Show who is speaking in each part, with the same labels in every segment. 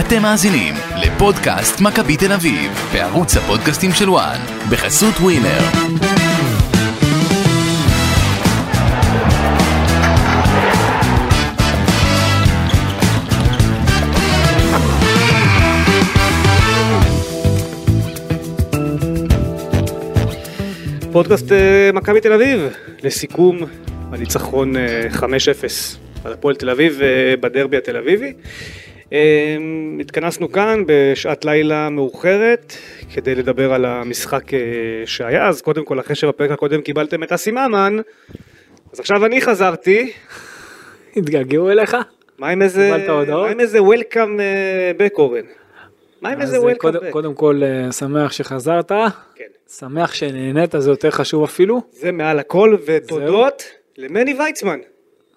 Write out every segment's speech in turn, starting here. Speaker 1: אתם מאזינים לפודקאסט מכבי תל אביב, בערוץ הפודקאסטים של וואן, בחסות ווינר.
Speaker 2: פודקאסט אה, מכבי תל אביב, לסיכום הניצחון אה, 5-0 על הפועל תל אביב אה, בדרבי התל אביבי. אה, התכנסנו כאן בשעת לילה מאוחרת כדי לדבר על המשחק אה, שהיה, אז קודם כל אחרי שבפרק הקודם קיבלתם את אסי ממן, אז עכשיו אני חזרתי,
Speaker 3: התגעגעו אליך?
Speaker 2: מה עם איזה,
Speaker 3: קיבלת הודעות?
Speaker 2: מה עם איזה Welcome אה, back אורן? מה עם
Speaker 3: אז אה,
Speaker 2: איזה Welcome
Speaker 3: קודם-
Speaker 2: back?
Speaker 3: קודם כל אה, שמח שחזרת,
Speaker 2: כן.
Speaker 3: שמח שנהנית זה יותר חשוב אפילו.
Speaker 2: זה מעל הכל ותודות למני ויצמן.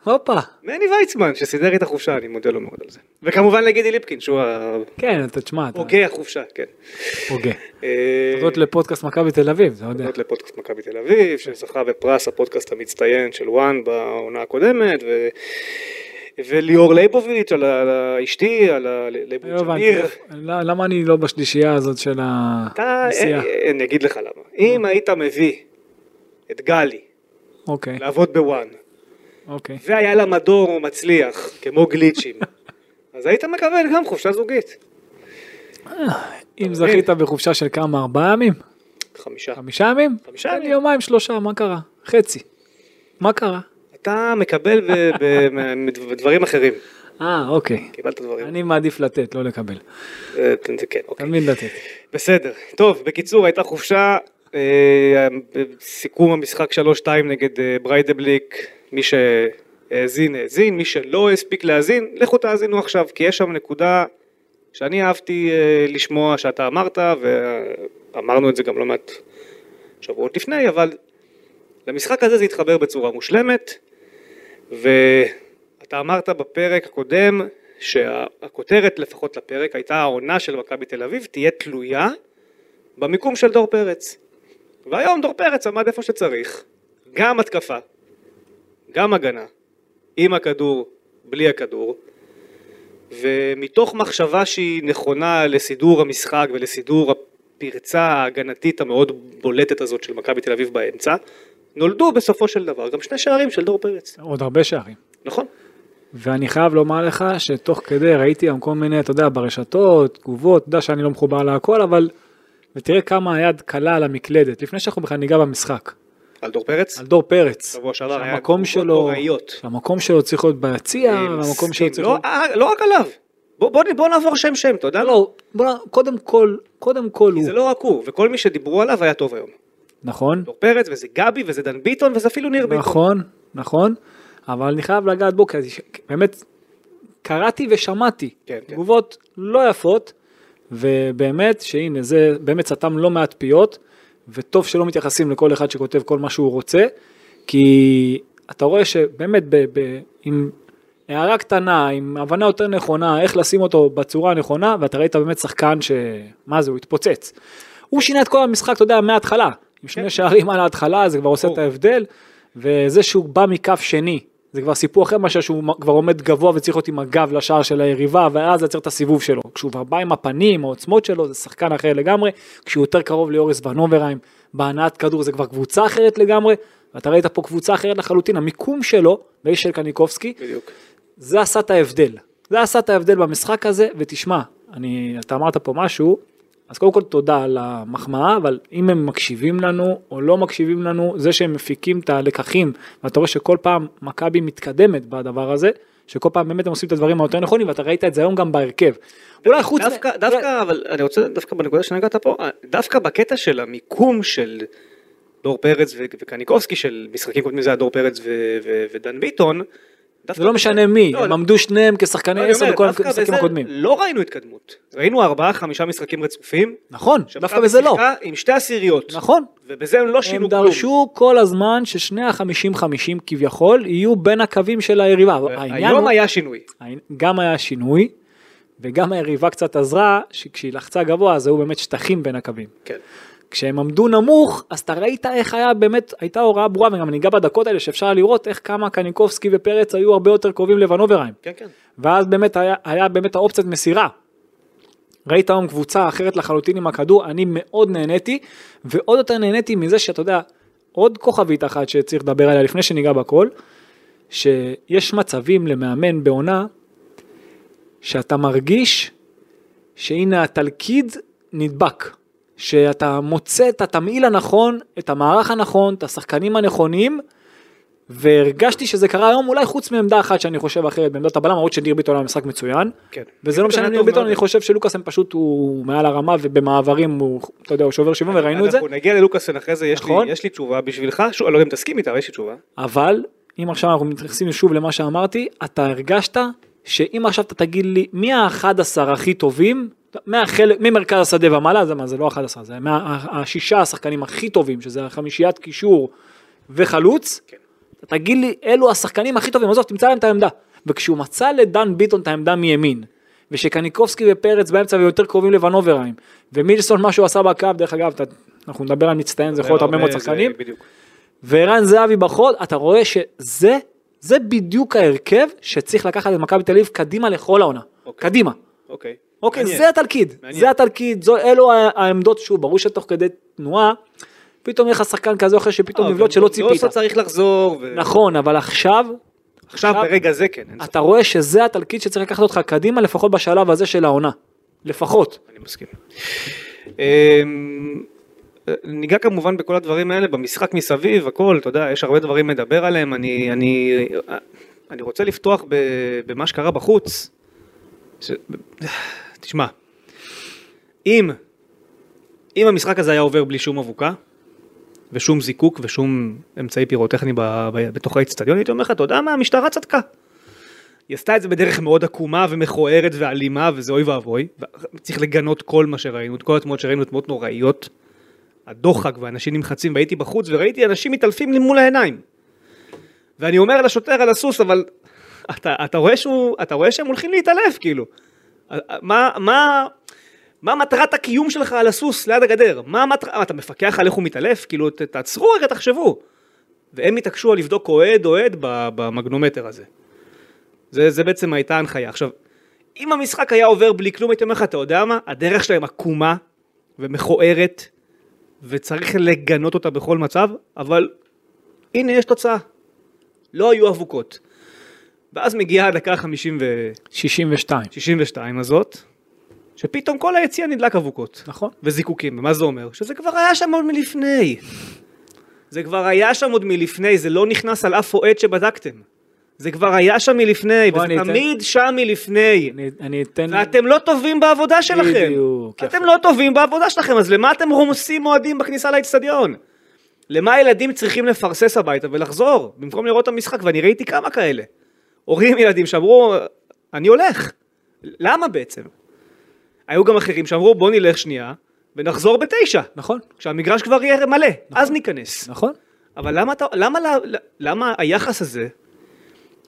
Speaker 3: הופה,
Speaker 2: מני ויצמן שסידר את החופשה, אני מודה לו מאוד על זה. וכמובן לגידי ליפקין שהוא
Speaker 3: כן אתה תשמע, אתה
Speaker 2: הוגה החופשה, כן.
Speaker 3: פוגע.
Speaker 2: אה,
Speaker 3: תודות לפודקאסט מכבי תל אביב, לא אתה יודע.
Speaker 2: תודות לפודקאסט מכבי תל אביב, שזכה בפרס הפודקאסט המצטיין של וואן בעונה הקודמת, ו... וליאור ליבוביץ' על ה- על ה- אשתי, על ה-
Speaker 3: לא
Speaker 2: ליבוביץ'
Speaker 3: הבנתי,
Speaker 2: אמיר.
Speaker 3: לא- למה אני לא בשלישייה הזאת של
Speaker 2: אתה,
Speaker 3: הנסיעה?
Speaker 2: אה, אה, אני אגיד לך למה. אם היית מביא את גלי
Speaker 3: אוקיי,
Speaker 2: לעבוד בוואן,
Speaker 3: אוקיי.
Speaker 2: והיה לה מדור או מצליח, כמו גליצ'ים, אז היית מקבל גם חופשה זוגית.
Speaker 3: אם זכית בחופשה של כמה, ארבעה ימים?
Speaker 2: חמישה.
Speaker 3: חמישה ימים?
Speaker 2: לא. חמישה
Speaker 3: תן לי
Speaker 2: ימים.
Speaker 3: יומיים שלושה, מה קרה? חצי. מה קרה?
Speaker 2: כן, אתה מקבל ב- ב- מ- מדברים אחרים.
Speaker 3: אה, אוקיי.
Speaker 2: קיבלת דברים.
Speaker 3: אני מעדיף לתת, לא לקבל.
Speaker 2: אה, זה כן, אוקיי.
Speaker 3: תמיד לתת.
Speaker 2: בסדר. טוב, בקיצור, הייתה חופשה, אה, סיכום המשחק 3-2 נגד אה, בריידבליק, מי שהאזין, האזין, מי שלא הספיק להאזין, לכו תאזינו עכשיו, כי יש שם נקודה שאני אהבתי אה, לשמוע שאתה אמרת, ואמרנו את זה גם לא מעט שבועות לפני, אבל למשחק הזה זה התחבר בצורה מושלמת, ואתה אמרת בפרק הקודם שהכותרת לפחות לפרק הייתה העונה של מכבי תל אביב תהיה תלויה במיקום של דור פרץ. והיום דור פרץ עמד איפה שצריך, גם התקפה, גם הגנה, עם הכדור, בלי הכדור, ומתוך מחשבה שהיא נכונה לסידור המשחק ולסידור הפרצה ההגנתית המאוד בולטת הזאת של מכבי תל אביב באמצע, נולדו בסופו של דבר גם שני שערים של דור פרץ,
Speaker 3: עוד הרבה שערים.
Speaker 2: נכון?
Speaker 3: ואני חייב לומר לך שתוך כדי ראיתי גם כל מיני, אתה יודע, ברשתות, תגובות, אתה יודע שאני לא מחובר להכל, אבל... ותראה כמה היד קלה על המקלדת, לפני שאנחנו בכלל ניגע במשחק,
Speaker 2: על דור פרץ?
Speaker 3: על דור פרץ,
Speaker 2: שבוע שעבר היה
Speaker 3: שהמקום
Speaker 2: תגובות
Speaker 3: שלו,
Speaker 2: נוראיות.
Speaker 3: שהמקום שלו צריך להיות ביציע, והמקום שלו צריך
Speaker 2: לא,
Speaker 3: להיות...
Speaker 2: אה, לא רק עליו. בוא, בוא, בוא נעבור שם שם, אתה יודע?
Speaker 3: לא, בוא, קודם כל, קודם כל הוא,
Speaker 2: זה לא רק הוא, וכל מי שדיברו עליו היה טוב היום.
Speaker 3: נכון,
Speaker 2: דור פרץ, וזה גבי, וזה דן ביטון, וזה אפילו ניר ביטון.
Speaker 3: נכון, נכון, אבל אני חייב לגעת בו, כי אז- באמת קראתי ושמעתי
Speaker 2: כן, כן.
Speaker 3: תגובות לא יפות, ובאמת שהנה זה באמת סתם לא מעט פיות, וטוב שלא מתייחסים לכל אחד שכותב כל מה שהוא רוצה, כי אתה רואה שבאמת ב, ב, עם הערה קטנה, עם הבנה יותר נכונה, איך לשים אותו בצורה הנכונה, ואתה ראית באמת שחקן ש... מה זה, הוא התפוצץ. הוא שינה את כל המשחק, אתה יודע, מההתחלה. עם שני שערים על ההתחלה, זה כבר עושה את
Speaker 2: כן. ברור.
Speaker 3: ההבדל, וזה שהוא בא מכף שני, זה כבר סיפור אחר מאשר שהוא מ- כבר עומד גבוה וצריך להיות עם הגב לשער של היריבה, ואז לייצר את הסיבוב שלו. כשהוא כבר בא עם הפנים, העוצמות שלו, זה שחקן אחר לגמרי, כשהוא יותר קרוב ליוריס ון אוברהיים, בהנעת כדור זה כבר קבוצה אחרת לגמרי, ואתה ראית פה קבוצה אחרת לחלוטין, המיקום שלו, ואישל קניקובסקי,
Speaker 2: בדיוק.
Speaker 3: זה עשה את ההבדל. זה עשה את ההבדל במשחק הזה, ותשמע, אני, אתה אמרת פה משהו, אז קודם כל תודה על המחמאה, אבל אם הם מקשיבים לנו או לא מקשיבים לנו, זה שהם מפיקים את הלקחים, ואתה רואה שכל פעם מכבי מתקדמת בדבר הזה, שכל פעם באמת הם עושים את הדברים היותר נכונים, ואתה ראית את זה היום גם בהרכב. אולי חוץ... מ-
Speaker 2: דווקא, דווקא, אבל אני רוצה, דווקא בנקודה שנגעת פה, אה, דווקא בקטע של המיקום של דור פרץ ו- וקניקובסקי, של משחקים קודמים זה היה דור פרץ ו- ו- ודן ביטון, דווקא...
Speaker 3: זה לא משנה מי,
Speaker 2: לא,
Speaker 3: הם
Speaker 2: לא.
Speaker 3: עמדו שניהם
Speaker 2: לא,
Speaker 3: כשחקני
Speaker 2: אני
Speaker 3: עשר
Speaker 2: אומר,
Speaker 3: בכל
Speaker 2: דווקא
Speaker 3: המשחקים
Speaker 2: בזה
Speaker 3: הקודמים.
Speaker 2: לא ראינו התקדמות. ראינו ארבעה, חמישה משחקים רצופים.
Speaker 3: נכון, דווקא
Speaker 2: שמכבי
Speaker 3: בזה לא.
Speaker 2: שיחקה עם שתי עשיריות.
Speaker 3: נכון,
Speaker 2: ובזה הם לא
Speaker 3: הם
Speaker 2: שינו כלום.
Speaker 3: דרשו כל הזמן ששני החמישים חמישים כביכול יהיו בין הקווים של היריבה. העניין
Speaker 2: אה, היום
Speaker 3: הוא-
Speaker 2: היה שינוי.
Speaker 3: גם היה שינוי, וגם היריבה קצת עזרה, שכשהיא לחצה גבוה אז היו באמת שטחים בין הקווים.
Speaker 2: כן.
Speaker 3: כשהם עמדו נמוך, אז אתה ראית איך היה באמת, הייתה הוראה ברורה, וגם ניגע בדקות האלה שאפשר לראות איך כמה קניקובסקי ופרץ היו הרבה יותר קרובים לבן אוברהיים.
Speaker 2: כן, כן.
Speaker 3: ואז באמת היה, היה באמת האופציית מסירה. ראית היום קבוצה אחרת לחלוטין עם הכדור, אני מאוד נהניתי, ועוד יותר נהניתי מזה שאתה יודע, עוד כוכבית אחת שצריך לדבר עליה לפני שניגע בכל, שיש מצבים למאמן בעונה, שאתה מרגיש שהנה התלכיד נדבק, שאתה מוצא את התמהיל הנכון, את המערך הנכון, את השחקנים הנכונים, והרגשתי שזה קרה היום אולי חוץ מעמדה אחת שאני חושב אחרת, בעמדת הבלם, למרות שניר ביטון היה משחק מצוין,
Speaker 2: כן.
Speaker 3: וזה לא משנה אם
Speaker 2: היה
Speaker 3: ניר
Speaker 2: טוב
Speaker 3: ביטון,
Speaker 2: מאוד.
Speaker 3: אני חושב שלוקאסן פשוט הוא מעל הרמה ובמעברים הוא, אתה יודע, הוא שובר שבעים וראינו את זה,
Speaker 2: אנחנו נגיע ללוקאסן אחרי זה, יש לי-
Speaker 3: נכון.
Speaker 2: יש לי תשובה בשבילך, שוב, אני לא יודע אם תסכים איתה, אבל יש לי תשובה.
Speaker 3: אבל אם עכשיו אנחנו מתייחסים שוב למה שאמרתי, אתה הרגשת שאם עכשיו אתה תגיד לי מי האחד עשר הכי טובים, מהחלק, ממרכז השדה ומעלה, זה מה, זה לא האחד עשר, זה מה- ה- השישה השחקנים הכי טובים, שזה החמישיית קישור וחלוץ,
Speaker 2: כן.
Speaker 3: אתה תגיד לי אלו השחקנים הכי טובים, עזוב, תמצא להם את העמדה. וכשהוא מצא לדן ביטון את העמדה מימין, ושקניקובסקי ופרץ באמצע ויותר קרובים לבנוברהיים, ומילסון מה שהוא עשה בקו, דרך אגב, אתה, אנחנו נדבר על מצטיין,
Speaker 2: נכון,
Speaker 3: זה יכול להיות הרבה מאוד
Speaker 2: לא, זה-
Speaker 3: שחקנים,
Speaker 2: בדיוק.
Speaker 3: וערן זהבי בחוד, אתה רואה שזה, זה בדיוק ההרכב שצריך לקחת את מכבי תל אביב קדימה לכל העונה.
Speaker 2: אוקיי.
Speaker 3: קדימה.
Speaker 2: אוקיי.
Speaker 3: אוקיי,
Speaker 2: מעניין.
Speaker 3: זה התלכיד,
Speaker 2: מעניין.
Speaker 3: זה התלכיד, זו, אלו ה- העמדות, שוב, ברור שתוך כדי תנועה, פתאום יהיה לך שחקן כזה או אחר שפתאום
Speaker 2: לא,
Speaker 3: יבלוט
Speaker 2: גם
Speaker 3: שלא
Speaker 2: דורסו
Speaker 3: ציפית.
Speaker 2: צריך לחזור, ו-
Speaker 3: נכון, אבל עכשיו,
Speaker 2: עכשיו
Speaker 3: עכשיו-
Speaker 2: ברגע זה כן, אין ספק.
Speaker 3: אתה רואה שזה התלכיד שצריך לקחת אותך קדימה, לפחות בשלב הזה של העונה. לפחות.
Speaker 2: אני מסכים. אמ, ניגע כמובן בכל הדברים האלה, במשחק מסביב, הכל, אתה יודע, יש הרבה דברים לדבר עליהם, אני, אני, אני רוצה לפתוח ב, במה שקרה בחוץ. ש... תשמע, אם, אם המשחק הזה היה עובר בלי שום אבוקה, ושום זיקוק ושום אמצעי פירוטכני ב, ב, בתוך האצטדיון, הייתי אומר לך, אתה יודע מה, המשטרה צדקה. היא עשתה את זה בדרך מאוד עקומה ומכוערת ואלימה, וזה אוי ואבוי. ו- צריך לגנות כל מה שראינו, את כל התמונות שראינו, תמונות נוראיות. הדוחק ואנשים נמחצים, והייתי בחוץ וראיתי אנשים מתעלפים לי מול העיניים. ואני אומר לשוטר על הסוס, אבל אתה, אתה, רואה, שהוא, אתה רואה שהם הולכים להתעלף, כאילו. מה, מה, מה מטרת הקיום שלך על הסוס ליד הגדר? מה המטרה, אתה מפקח על איך הוא מתעלף? כאילו, ת, תעצרו רגע, תחשבו. והם התעקשו על לבדוק אוהד אוהד ב- במגנומטר הזה. זה, זה בעצם הייתה ההנחיה. עכשיו, אם המשחק היה עובר בלי כלום, הייתי אומר לך, אתה יודע מה? הדרך שלהם עקומה ומכוערת, וצריך לגנות אותה בכל מצב, אבל הנה, יש תוצאה. לא היו אבוקות. ואז מגיעה הדקה ה-62
Speaker 3: 62.
Speaker 2: הזאת, שפתאום כל היציע נדלק אבוקות.
Speaker 3: נכון.
Speaker 2: וזיקוקים, ומה זה אומר? שזה כבר היה שם עוד מלפני. זה כבר היה שם עוד מלפני, זה לא נכנס על אף אוהד שבדקתם. זה כבר היה שם מלפני,
Speaker 3: בוא
Speaker 2: וזה
Speaker 3: אני אתן-
Speaker 2: תמיד שם מלפני.
Speaker 3: אני- אני אתן...
Speaker 2: ואתם לא טובים בעבודה שלכם.
Speaker 3: בדיוק, יפה.
Speaker 2: אתם לא טובים בעבודה שלכם, אז למה אתם רומסים אוהדים בכניסה לאצטדיון? למה הילדים צריכים לפרסס הביתה ולחזור, במקום לראות את המשחק, ואני ראיתי כמה כאלה. הורים ילדים שאמרו, אני הולך. למה בעצם? היו גם אחרים שאמרו, בוא נלך שנייה, ונחזור בתשע,
Speaker 3: נכון,
Speaker 2: כשהמגרש כבר יהיה מלא, אז ניכנס.
Speaker 3: נכון.
Speaker 2: אבל למה, אתה, למה, למה, למה היחס הזה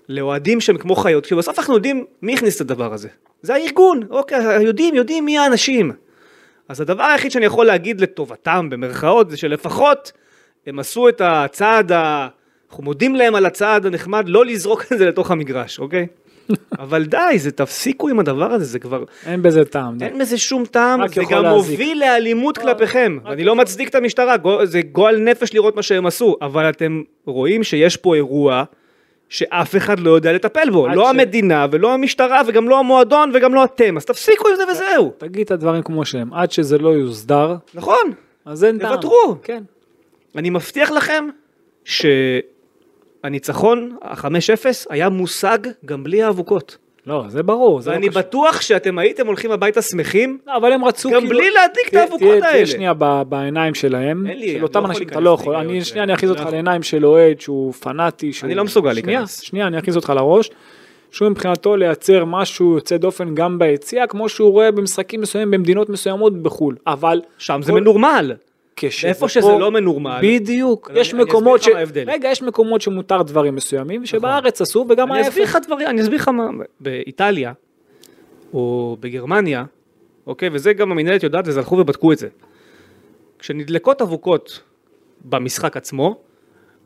Speaker 2: לאוהדים שהם כמו חיות, כי בסוף אנחנו יודעים מי הכניס את הדבר הזה. זה הארגון, אוקיי, יודעים, יודעים מי האנשים. אז הדבר היחיד שאני יכול להגיד לטובתם במרכאות זה שלפחות הם עשו את הצעד ה... אנחנו מודים להם על הצעד הנחמד לא לזרוק את זה לתוך המגרש, אוקיי? אבל די, זה תפסיקו עם הדבר הזה, זה כבר...
Speaker 3: אין בזה טעם.
Speaker 2: אין בזה שום טעם,
Speaker 3: כן. רק
Speaker 2: זה
Speaker 3: יכול
Speaker 2: גם
Speaker 3: להזיק.
Speaker 2: מוביל לאלימות כלפיכם. אני לא מצדיק את המשטרה, גו- זה גועל נפש לראות מה שהם עשו, אבל אתם רואים שיש פה אירוע שאף אחד לא יודע לטפל בו.
Speaker 3: עד
Speaker 2: לא
Speaker 3: ש-
Speaker 2: המדינה ולא המשטרה וגם לא המועדון וגם לא אתם, אז תפסיקו עם זה וזהו.
Speaker 3: תגיד את הדברים כמו שהם, עד שזה לא יוסדר,
Speaker 2: נכון.
Speaker 3: אז אין טעם.
Speaker 2: תוותרו.
Speaker 3: כן.
Speaker 2: אני מבטיח לכם שהניצחון, ה-5-0, היה מושג גם בלי האבוקות.
Speaker 3: לא, זה ברור, זה לא
Speaker 2: ואני
Speaker 3: קשור.
Speaker 2: בטוח שאתם הייתם הולכים הביתה שמחים,
Speaker 3: לא, אבל הם רצו
Speaker 2: גם בלי להדליק את
Speaker 3: תהיה-
Speaker 2: האבוקות
Speaker 3: תהיה- תהיה
Speaker 2: האלה.
Speaker 3: שנייה ב- בעיניים שלהם,
Speaker 2: אין לי, אני
Speaker 3: של
Speaker 2: לא
Speaker 3: אותם
Speaker 2: יכול
Speaker 3: אנשים, אתה
Speaker 2: להיכנס
Speaker 3: לא יכול,
Speaker 2: להיגיון
Speaker 3: אני
Speaker 2: זה.
Speaker 3: שנייה אני אכניס
Speaker 2: אני לא
Speaker 3: אותך
Speaker 2: יכול.
Speaker 3: לעיניים של אוהד שהוא פנאטי, שהוא...
Speaker 2: אני לא מסוגל
Speaker 3: שנייה,
Speaker 2: להיכנס.
Speaker 3: שנייה, אני אכניס אותך לראש, שהוא מבחינתו לייצר משהו יוצא דופן גם ביציאה, כמו שהוא רואה במשחקים מסוימים במדינות מסוימות בחו"ל, אבל...
Speaker 2: שם זה
Speaker 3: כל-
Speaker 2: מנורמל.
Speaker 3: כשזה
Speaker 2: איפה שזה
Speaker 3: פה-
Speaker 2: לא מנורמל.
Speaker 3: בדיוק,
Speaker 2: אני-
Speaker 3: יש
Speaker 2: אני
Speaker 3: מקומות ש...
Speaker 2: אסביר לך מה ההבדל. נכון.
Speaker 3: רגע, יש מקומות שמותר דברים מסוימים, שבארץ אסור, וגם
Speaker 2: אני אסביר
Speaker 3: ההפך.
Speaker 2: לך דברים, אני אסביר לך מה, באיטליה, או בגרמניה, אוקיי, וזה גם המנהלת יודעת, אז הלכו ובדקו את זה. כשנדלקות אבוקות במשחק עצמו,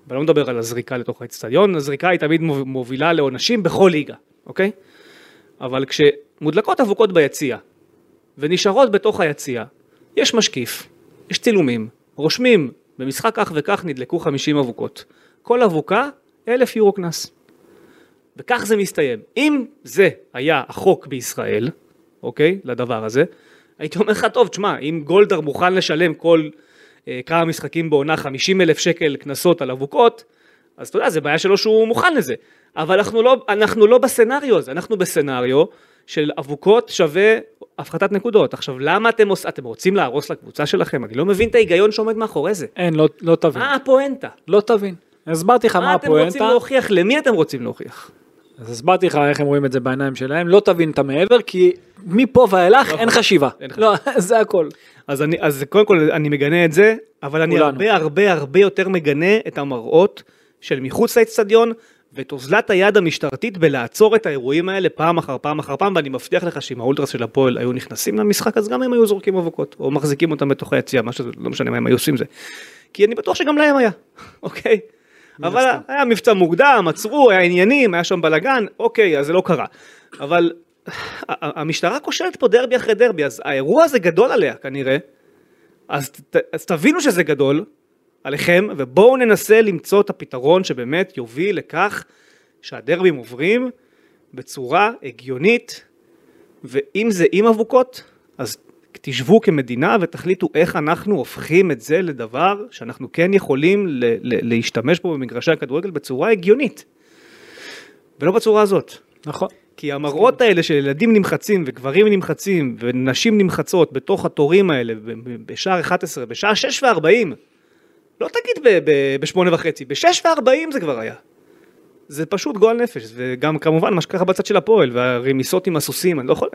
Speaker 2: ואני לא מדבר על הזריקה לתוך האצטדיון, הזריקה היא תמיד מוב- מובילה לעונשים בכל ליגה, אוקיי? אבל כשמודלקות אבוקות ביציע, ונשארות בתוך היציע. יש משקיף, יש צילומים, רושמים, במשחק כך וכך נדלקו 50 אבוקות. כל אבוקה, 1,000 יורו קנס. וכך זה מסתיים. אם זה היה החוק בישראל, אוקיי, לדבר הזה, הייתי אומר לך, טוב, תשמע, אם גולדהר מוכן לשלם כל אה, כמה משחקים בעונה 50 אלף שקל קנסות על אבוקות, אז אתה יודע, זה בעיה שלו שהוא מוכן לזה. אבל אנחנו לא, אנחנו לא בסצנריו הזה, אנחנו בסצנריו של אבוקות שווה הפחתת נקודות. עכשיו, למה אתם עושים, אתם רוצים להרוס לקבוצה שלכם? אני לא מבין את ההיגיון שעומד מאחורי זה.
Speaker 3: אין, לא- לא תבין.
Speaker 2: מה הפואנטה?
Speaker 3: לא תבין. הסברתי לך מה
Speaker 2: מה אה. אתם רוצים
Speaker 3: הפואנטה,
Speaker 2: להוכיח? למי אתם רוצים להוכיח?
Speaker 3: אז הסברתי לך איך הם רואים את זה בעיניים שלהם, לא תבין את המעבר, כי מפה ואילך אין חשיבה.
Speaker 2: נכון. אין חשיבה.
Speaker 3: לא, זה הכל.
Speaker 2: אז, אני, אז קודם כל אני מגנה את זה, אבל אני
Speaker 3: כולנו.
Speaker 2: הרבה הרבה הרבה יותר מגנה את המראות של מחוץ לאצטדיון ואת אוזלת היד המשטרתית בלעצור את האירועים האלה פעם אחר פעם אחר פעם, ואני מבטיח לך שאם האולטרס של הפועל היו נכנסים למשחק אז גם הם היו זורקים אבוקות, או מחזיקים אותם בתוך היציאה, מה שזה, לא משנה מה הם היו עושים זה. כי אני בטוח שגם להם היה, אוקיי? אבל היה מבצע מוקדם, עצרו, היה עניינים, היה שם בלאגן, אוקיי, אז זה לא קרה. אבל ה- ה- המשטרה כושלת פה דרבי אחרי דרבי, אז האירוע הזה גדול עליה כנראה, אז, ת, אז תבינו שזה גדול עליכם, ובואו ננסה למצוא את הפתרון שבאמת יוביל לכך שהדרבים עוברים בצורה הגיונית, ואם זה עם אבוקות, אז תשבו כמדינה ותחליטו איך אנחנו הופכים את זה לדבר שאנחנו כן יכולים ל, ל, להשתמש בו במגרשי הכדורגל בצורה הגיונית, ולא בצורה הזאת.
Speaker 3: נכון.
Speaker 2: כי המראות האלה של ילדים נמחצים וגברים נמחצים ונשים נמחצות בתוך התורים האלה ב- ב- בשעה 11, בשעה 6 ו-40, לא תגיד ב-8 וחצי, ב-6 ו-40 זה כבר היה. זה פשוט גועל נפש, וגם כמובן מה שקרה בצד של הפועל והרמיסות עם הסוסים, אני לא יכול...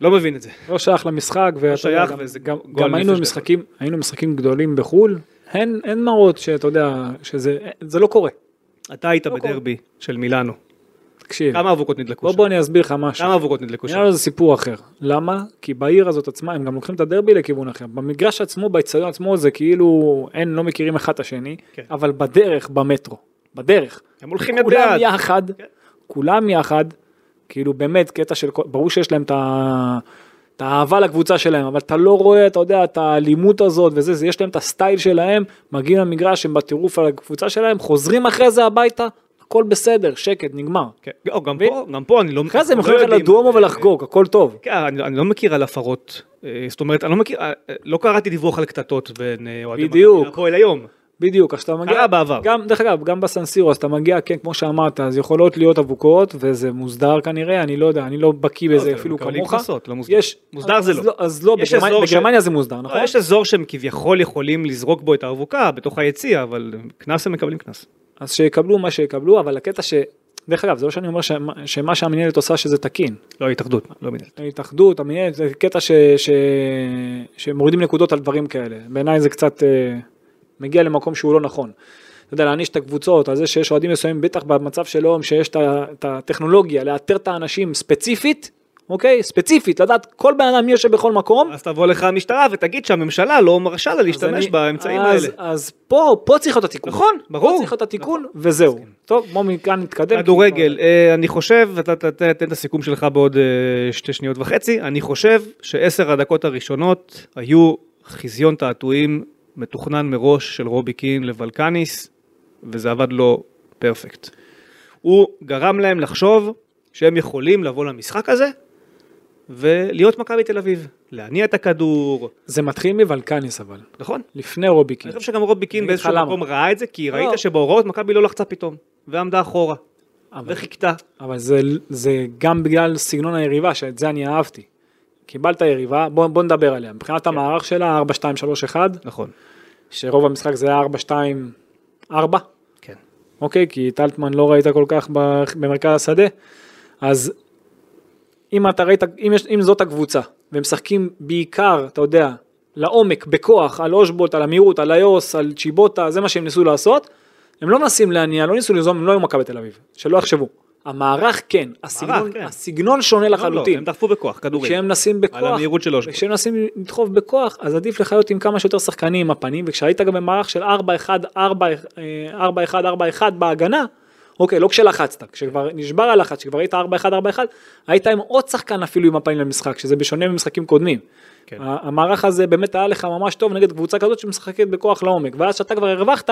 Speaker 2: לא מבין את זה.
Speaker 3: לא שייך למשחק, ואתה יודע,
Speaker 2: שייך,
Speaker 3: גם-
Speaker 2: וזה
Speaker 3: גם-
Speaker 2: גועל
Speaker 3: גם היינו
Speaker 2: נפש
Speaker 3: משחקים, היינו משחקים גדולים בחו"ל, אין אין מראות שאתה יודע, שזה זה לא קורה.
Speaker 2: אתה היית בדרבי של מילאנו,
Speaker 3: תקשיב,
Speaker 2: כמה אבוקות נדלקו
Speaker 3: לא
Speaker 2: שם?
Speaker 3: כן. בוא בוא לא אני אסביר לך משהו.
Speaker 2: כמה אבוקות נדלקו שם?
Speaker 3: נראה לו זה סיפור אחר. למה? כי בעיר הזאת עצמה הם גם לוקחים את הדרבי לכיוון אחר. במגרש עצמו, באצטדיון עצמו זה כאילו אין, לא מכירים אחד את השני,
Speaker 2: כן.
Speaker 3: אבל בדרך, במטרו, בדרך.
Speaker 2: הם הולכים יד
Speaker 3: כולם
Speaker 2: ביד. כן.
Speaker 3: יחד, כולם יחד, כאילו באמת קטע של, כל- ברור שיש להם את ה... את האהבה לקבוצה שלהם, אבל אתה לא רואה, אתה יודע, את האלימות הזאת וזה, זה, יש להם את הסטייל שלהם, מגיעים למגרש, הם בטירוף על הקבוצה שלהם, חוזרים אחרי זה הביתה, הכל בסדר, שקט, נגמר.
Speaker 2: כן. או, גם פה, גם פה אני לא...
Speaker 3: אחרי זה הם
Speaker 2: אנחנו
Speaker 3: יכולים ללכת
Speaker 2: יודעים.
Speaker 3: לדואמו ולחגוג, הכל טוב.
Speaker 2: כן, אני, אני לא מכיר על הפרות, אה, זאת אומרת, אני לא מכיר, אה, אה, לא קראתי דיווח על קטטות בין אה, אוהדי מכבי
Speaker 3: בדיוק.
Speaker 2: להפועל היום.
Speaker 3: בדיוק, אז אתה מגיע...
Speaker 2: קרה בעבר.
Speaker 3: גם, דרך אגב, גם בסנסירו, אז אתה מגיע, כן, כמו שאמרת, אז יכולות להיות אבוקות, וזה מוסדר כנראה, אני לא יודע, אני לא בקיא בזה
Speaker 2: זה
Speaker 3: אפילו
Speaker 2: מקבלים
Speaker 3: כמוך.
Speaker 2: קנסות, לא מוסדר.
Speaker 3: יש-
Speaker 2: מוסדר
Speaker 3: אז
Speaker 2: זה לא.
Speaker 3: אז לא,
Speaker 2: יש
Speaker 3: בגרמניה-
Speaker 2: אזור ש-
Speaker 3: בגרמניה זה מוסדר, נכון?
Speaker 2: נכון? יש אזור שהם כביכול יכולים לזרוק בו את האבוקה בתוך היציע, אבל קנס הם מקבלים קנס.
Speaker 3: אז שיקבלו מה שיקבלו, אבל הקטע ש... דרך אגב, זה לא שאני אומר שמה- שמה שהמנהלת עושה שזה תקין.
Speaker 2: לא ההתאחדות, לא מנהלת.
Speaker 3: ההתאחדות, המנהלת, זה קטע ש... ש... שמורידים נקודות על דברים כאלה. בעיניי זה קצת אה, מגיע למקום שהוא לא נכון. אתה יודע, להעניש את הקבוצות, על זה שיש אוהדים מסוימים, בטח במצב של היום, שיש את ה- את הטכנולוגיה, לאתר את האנשים ספציפית, אוקיי? ספציפית, לדעת כל בן אדם מי יושב בכל מקום.
Speaker 2: אז תבוא לך המשטרה ותגיד שהממשלה לא מרשה לה
Speaker 3: אז
Speaker 2: להשתמש
Speaker 3: אני-
Speaker 2: באמצעים
Speaker 3: אז,
Speaker 2: האלה.
Speaker 3: אז פה, פה צריך להיות התיקון.
Speaker 2: נכון, ברור. נכון.
Speaker 3: פה צריך להיות התיקון, וזהו. טוב, בואו מכאן נתקדם.
Speaker 2: כדורגל, אה, אני חושב, אתה אתה- אתה- תן את הסיכום שלך בעוד אה, שתי שניות וחצי, אני חושב שעשר הדקות הראשונות היו חזיון תעתועים מתוכנן מראש של רובי קין לוולקניס, וזה עבד לו פרפקט. הוא גרם להם לחשוב שהם יכולים לבוא למשחק הזה ולהיות מכבי תל אביב, להניע את הכדור,
Speaker 3: זה מתחיל מוולקניס אבל,
Speaker 2: נכון?
Speaker 3: לפני רוביקים.
Speaker 2: אני חושב שגם רובי קין
Speaker 3: אני אגיד לך
Speaker 2: באיזשהו
Speaker 3: למה.
Speaker 2: מקום ראה את זה, כי
Speaker 3: לא.
Speaker 2: ראית שבהוראות מכבי לא לחצה פתאום, ועמדה אחורה,
Speaker 3: אבל-
Speaker 2: וחיכתה.
Speaker 3: אבל זה, זה גם בגלל סגנון היריבה, שאת זה אני אהבתי. קיבלת יריבה, בוא, בוא נדבר עליה. מבחינת המערך שלה, 4, 2, 3, 1,
Speaker 2: נכון,
Speaker 3: שרוב המשחק זה היה 4, 2, 4,
Speaker 2: כן.
Speaker 3: אוקיי? כי את אלטמן לא ראית כל כך ב- במרכז השדה. אז אם אתה ראית, אם, יש, אם זאת הקבוצה, והם משחקים בעיקר, אתה יודע, לעומק, בכוח, על אושבולט, על המהירות, על איוס, על צ'יבוטה, זה מה שהם ניסו לעשות, הם לא מנסים להניע, לא ניסו ליזום, הם לא היו מכבי תל אביב, שלא יחשבו. המערך כן, הסגנון,
Speaker 2: כן.
Speaker 3: הסגנון שונה
Speaker 2: לא, לא,
Speaker 3: לחלוטין.
Speaker 2: הם דחפו בכוח, כדורים.
Speaker 3: כשהם מנסים בכוח,
Speaker 2: על המהירות של אושבולט.
Speaker 3: כשהם מנסים לדחוף בכוח, אז עדיף לך להיות עם כמה שיותר שחקנים עם הפנים, וכשהיית גם במערך של 4-1-4-1-4-1 אה, בהגנה, אוקיי, לא כשלחצת, כשכבר נשבר הלחץ, כשכבר היית 4-1-4-1, היית עם עוד שחקן אפילו עם הפנים למשחק, שזה בשונה ממשחקים קודמים.
Speaker 2: כן.
Speaker 3: ה- המערך הזה באמת היה לך ממש טוב נגד קבוצה כזאת שמשחקת בכוח לעומק, ואז כשאתה כבר הרווחת,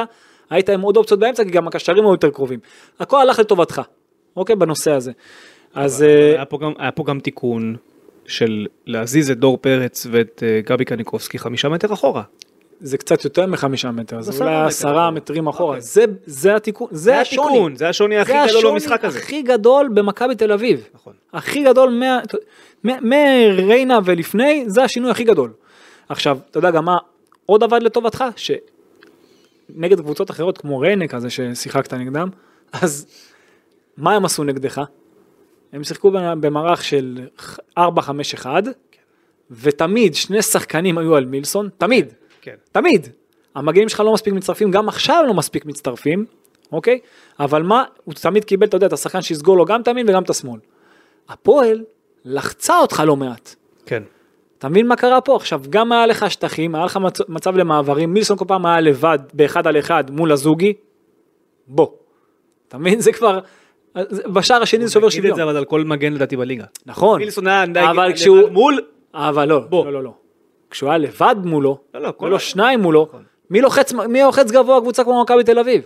Speaker 3: היית עם עוד אופציות באמצע, כי גם הקשרים היו יותר קרובים. הכל הלך לטובתך, אוקיי, בנושא הזה. אז... אה,
Speaker 2: היה פה גם- היה פה גם תיקון של להזיז את דור פרץ ואת אה, גבי קניקובסקי חמישה מטר אחורה.
Speaker 3: זה קצת יותר מחמישה מטר,
Speaker 2: אז
Speaker 3: זה
Speaker 2: עשרה
Speaker 3: אולי
Speaker 2: מטר.
Speaker 3: עשרה מטרים אחורה, זה, זה התיקון, זה השוני,
Speaker 2: התיקון, זה השוני הכי גדול במשחק הזה.
Speaker 3: הכי גדול במכבי תל אביב,
Speaker 2: נכון.
Speaker 3: הכי גדול מה- מ- מריינה ולפני, זה השינוי הכי גדול. עכשיו, אתה יודע גם מה עוד עבד לטובתך? שנגד קבוצות אחרות כמו ריינה כזה ששיחקת נגדם, אז מה הם עשו נגדך? הם שיחקו במערך של 4-5-1, ותמיד שני שחקנים היו על מילסון, תמיד.
Speaker 2: כן.
Speaker 3: תמיד. המגנים שלך לא מספיק מצטרפים, גם עכשיו לא מספיק מצטרפים, אוקיי? אבל מה, הוא תמיד קיבל, אתה יודע, את השחקן שיסגור לו גם את הימין וגם את השמאל. הפועל לחצה אותך לא מעט.
Speaker 2: כן.
Speaker 3: אתה מבין מה קרה פה? עכשיו, גם היה לך שטחים, היה לך מצ... מצב למעברים, מילסון כל פעם היה לבד, באחד על אחד, מול הזוגי, בוא. אתה מבין? זה כבר... אז בשער השני זה שובר
Speaker 2: תגיד את
Speaker 3: שוויון.
Speaker 2: זה אבל על כל מגן לדעתי בליגה.
Speaker 3: נכון.
Speaker 2: מילסון היה
Speaker 3: אבל
Speaker 2: נגיד,
Speaker 3: כשהוא...
Speaker 2: מול,
Speaker 3: אבל לא,
Speaker 2: בוא.
Speaker 3: לא, לא, לא. כשהוא היה לבד מולו,
Speaker 2: לא, לא, כל
Speaker 3: ולא
Speaker 2: ה-
Speaker 3: שניים מולו, מי לוחץ, מי לוחץ גבוה קבוצה כמו מכבי תל אביב?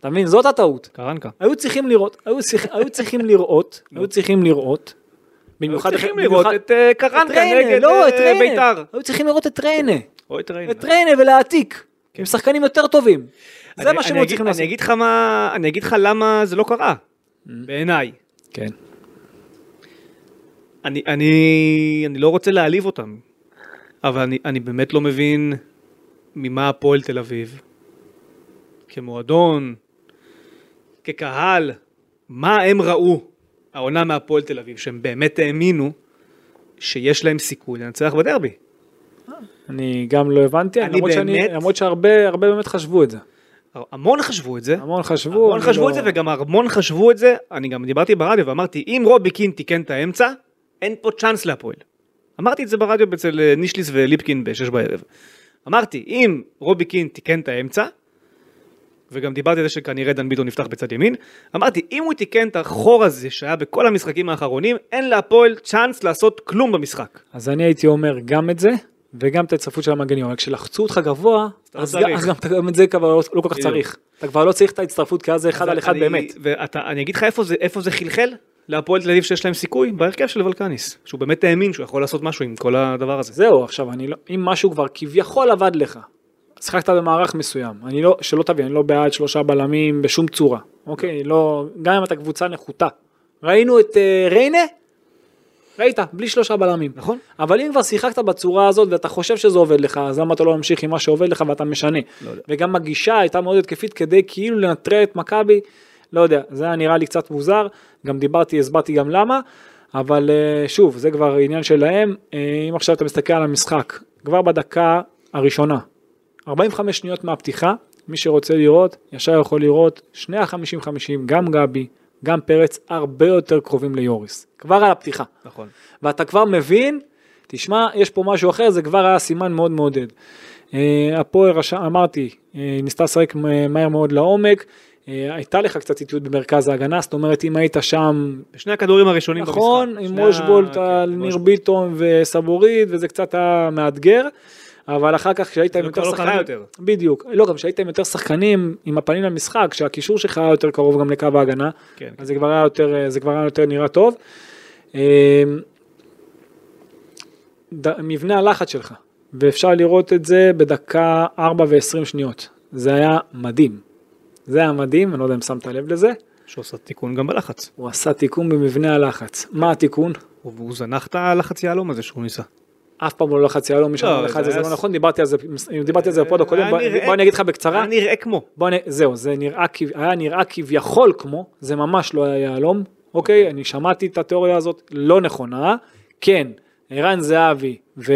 Speaker 3: אתה מבין? זאת הטעות.
Speaker 2: קרנקה.
Speaker 3: היו צריכים לראות, היו צריכים- היו צריכים לראות, היו צריכים לראות, במיוחד...
Speaker 2: לא. צריכים
Speaker 3: במיוחד-
Speaker 2: לראות את אה, קרנקה
Speaker 3: ריינה,
Speaker 2: נגד
Speaker 3: לא,
Speaker 2: אה,
Speaker 3: את ריינה.
Speaker 2: בית"ר. כן.
Speaker 3: היו צריכים לראות את ריינה,
Speaker 2: או את ריינה.
Speaker 3: את ריינה ולהעתיק, עם שחקנים יותר טובים. זה
Speaker 2: כן. אני-
Speaker 3: מה שהם
Speaker 2: אני
Speaker 3: היו
Speaker 2: אגיד-
Speaker 3: צריכים לעשות. Mm.
Speaker 2: אני אגיד לך מה, אני אגיד לך למה זה לא קרה, בעיניי.
Speaker 3: כן.
Speaker 2: אני, אני, אני לא רוצה להעליב אותם, אבל אני, אני באמת לא מבין ממה הפועל תל אביב, כמועדון, כקהל, מה הם ראו העונה מהפועל תל אביב, שהם באמת האמינו שיש להם סיכוי לנצח בדרבי.
Speaker 3: אני גם לא הבנתי,
Speaker 2: אני
Speaker 3: למרות שאני-
Speaker 2: באמת-
Speaker 3: למרות שהרבה הרבה באמת חשבו את זה.
Speaker 2: המון חשבו את זה,
Speaker 3: המון חשבו.
Speaker 2: המון
Speaker 3: אני
Speaker 2: חשבו
Speaker 3: לא-
Speaker 2: את זה וגם המון חשבו את זה, אני גם דיברתי ברדיו ואמרתי אם רובי קין תיקן את האמצע, אין פה צ'אנס להפועל. אמרתי את זה ברדיו אצל אה, נישליס וליפקין בשש בערב. אמרתי אם רובי קין תיקן את האמצע, וגם דיברתי על זה שכנראה דן ביטון נפתח בצד ימין, אמרתי אם הוא תיקן את החור הזה שהיה בכל המשחקים האחרונים, אין להפועל צ'אנס לעשות כלום במשחק.
Speaker 3: אז אני הייתי אומר גם את זה, וגם את ההצטרפות של המגנים, אבל כשלחצו אותך גבוה,
Speaker 2: לא
Speaker 3: אז
Speaker 2: צריך.
Speaker 3: גם- אז גם אתה- גם את זה כבר לא לא כל כך צריך. אתה כבר לא צריך את ההצטרפות, כי אז זה אחד על אחד
Speaker 2: אני-
Speaker 3: באמת.
Speaker 2: ואתה- אני אגיד לך איפה זה- איפה זה חלחל? להפועל תל אביב שיש להם סיכוי בהרכב של ולקניס, שהוא באמת האמין שהוא יכול לעשות משהו עם כל הדבר הזה.
Speaker 3: זהו, עכשיו, אני לא, אם משהו כבר כביכול עבד לך, שיחקת במערך מסוים, אני לא, שלא תבין, אני לא בעד שלושה בלמים בשום צורה, אוקיי? לא, גם אם אתה קבוצה נחותה. ראינו את אה, ריינה, ראית, בלי שלושה בלמים.
Speaker 2: נכון.
Speaker 3: אבל אם כבר שיחקת בצורה הזאת ואתה חושב שזה עובד לך, אז למה אתה לא ממשיך עם מה שעובד לך ואתה משנה?
Speaker 2: לא יודע.
Speaker 3: וגם הגישה הייתה מאוד התקפית כדי כאילו לנטרל את מכבי, לא יודע, זה היה נראה לי קצת מוזר, גם דיברתי, הסברתי גם למה, אבל אה, שוב, זה כבר עניין שלהם, אה, אם עכשיו אתה מסתכל על המשחק, כבר בדקה הראשונה, 45 שניות מהפתיחה, מי שרוצה לראות, ישר יכול לראות, שני ה-50-50, גם גבי, גם פרץ, הרבה יותר קרובים ליוריס, כבר על הפתיחה.
Speaker 2: נכון.
Speaker 3: ואתה כבר מבין, תשמע, יש פה משהו אחר, זה כבר היה סימן מאוד מעודד. אה, הפועל, רש- אמרתי, אה, ניסתה לשחק מ- מהר מאוד לעומק, אה, הייתה לך קצת איטיות במרכז ההגנה, זאת אומרת, אם היית שם,
Speaker 2: בשני הכדורים הראשונים במשחק.
Speaker 3: נכון, עם
Speaker 2: שני ה-
Speaker 3: רושבולט
Speaker 2: כן,
Speaker 3: על
Speaker 2: רושבולט.
Speaker 3: ניר ביטון וסבורית, וזה קצת היה מאתגר. אבל אחר כך כשהיית עם
Speaker 2: זה
Speaker 3: יותר
Speaker 2: כבר לא קרה
Speaker 3: שחקנים,
Speaker 2: יותר.
Speaker 3: בדיוק, לא גם כשהיית עם יותר שחקנים עם הפנים למשחק, כשהקישור שלך היה יותר קרוב גם לקו ההגנה,
Speaker 2: כן, כן.
Speaker 3: אז זה כבר היה יותר, אה, זה כבר היה יותר נראה טוב. אה, ד- מבנה הלחץ שלך, ואפשר לראות את זה בדקה 4 ו-20 שניות. זה היה מדהים. זה היה מדהים, אני לא יודע אם שמת לב לזה.
Speaker 2: שעושה תיקון גם בלחץ.
Speaker 3: הוא עשה תיקון במבנה הלחץ. מה התיקון?
Speaker 2: והוא זנח את הלחץ יהלום הזה שהוא ניסה.
Speaker 3: אף פעם לא לחץ יהלום, מי
Speaker 2: לא,
Speaker 3: שאמר לך את
Speaker 2: זה
Speaker 3: זה, זה
Speaker 2: היה
Speaker 3: לא
Speaker 2: ס- אה,
Speaker 3: נכון, דיברתי על זה, דיברתי על זה בפוד הקודם,
Speaker 2: היה
Speaker 3: בוא-
Speaker 2: נראה-
Speaker 3: בוא אני אגיד לך בקצרה.
Speaker 2: היה נראה כמו.
Speaker 3: בוא נ... זהו, זה נראה, כב- היה נראה כביכול כמו, זה ממש לא היה יהלום, אוקיי? אני שמעתי את התיאוריה הזאת, לא נכונה. כן, ערן זהבי ודן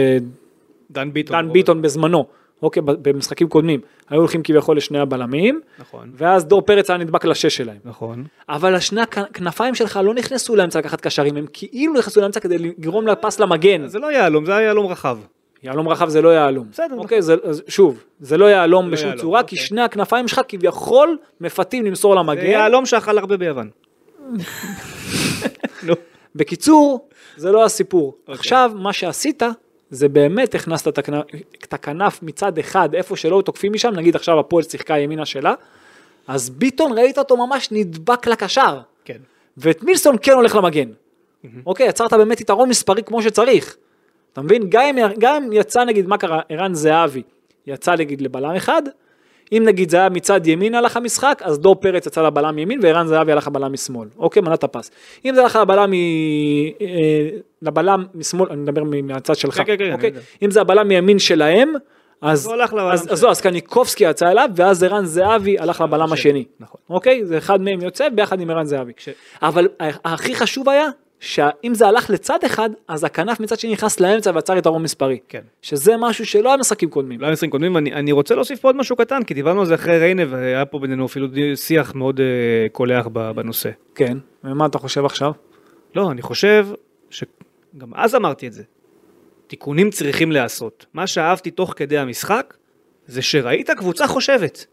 Speaker 2: דן ביטון. רואה.
Speaker 3: ביטון בזמנו, אוקיי, ב- במשחקים קודמים, היו הולכים כביכול לשני הבלמים,
Speaker 2: נכון.
Speaker 3: ואז דור פרץ היה נדבק לשש שלהם.
Speaker 2: נכון.
Speaker 3: אבל השני הכנפיים שלך לא נכנסו לאמצע לקחת קשרים, הם כאילו נכנסו לאמצע כדי לגרום לפס למגן.
Speaker 2: אז זה לא יהלום, זה היה יהלום רחב.
Speaker 3: יהלום רחב זה לא יהלום.
Speaker 2: בסדר, נכון.
Speaker 3: אוקיי, זה, אז שוב, זה לא יהלום
Speaker 2: לא
Speaker 3: בשום
Speaker 2: יהלום,
Speaker 3: צורה, כי
Speaker 2: אוקיי.
Speaker 3: שני הכנפיים שלך כביכול מפתים למסור
Speaker 2: זה
Speaker 3: למגן.
Speaker 2: יהלום שאכל הרבה ביוון. נו.
Speaker 3: בקיצור, זה לא הסיפור.
Speaker 2: אוקיי.
Speaker 3: עכשיו, מה שעשית, זה באמת הכנסת את הכנף- את הכנף מצד אחד, איפה שלא תוקפים משם, נגיד עכשיו הפועל שיחקה ימינה שלה, אז ביטון ראית אותו ממש נדבק לקשר,
Speaker 2: כן.
Speaker 3: ואת מילסון כן הולך למגן. אוקיי, יצרת באמת יתרון מספרי כמו שצריך. אתה מבין? גם אם- גם אם יצא נגיד, מה קרה, ערן זהבי יצא נגיד לבלם אחד, אם נגיד זה היה מצד ימין הלך המשחק, אז דור פרץ יצא לבלם ימין וערן זהבי הלך לבלם משמאל. אוקיי, מנת הפס. אם זה הלך לבלם, מ... אה, לבלם משמאל, אני מדבר מ- מהצד שלך.
Speaker 2: כן, כן, כן,
Speaker 3: אוקיי?
Speaker 2: אני יודע.
Speaker 3: אם זה הבלם מימין שלהם, אז,
Speaker 2: הוא הלך לבלם
Speaker 3: אז, אז,
Speaker 2: שלו.
Speaker 3: לא, אז קניקובסקי יצא אליו, ואז ערן זהבי הלך לבלם
Speaker 2: השני,
Speaker 3: השני.
Speaker 2: נכון.
Speaker 3: אוקיי? זה אחד מהם יוצא ביחד עם ערן זהבי.
Speaker 2: כש-
Speaker 3: אבל ה- הכי חשוב היה, שאם זה הלך לצד אחד, אז הכנף מצד שני נכנס לאמצע ויצר יתרון מספרי.
Speaker 2: כן.
Speaker 3: שזה משהו שלא היה משחקים קודמים.
Speaker 2: לא היה משחקים קודמים, אני, אני רוצה להוסיף פה עוד משהו קטן, כי דיברנו על זה אחרי ריינה, והיה פה בינינו אפילו די- שיח מאוד אה, קולח ב- בנושא.
Speaker 3: כן. ומה אתה חושב עכשיו?
Speaker 2: לא, אני חושב שגם אז אמרתי את זה. תיקונים צריכים להיעשות. מה שאהבתי תוך כדי המשחק, זה שראית קבוצה חושבת.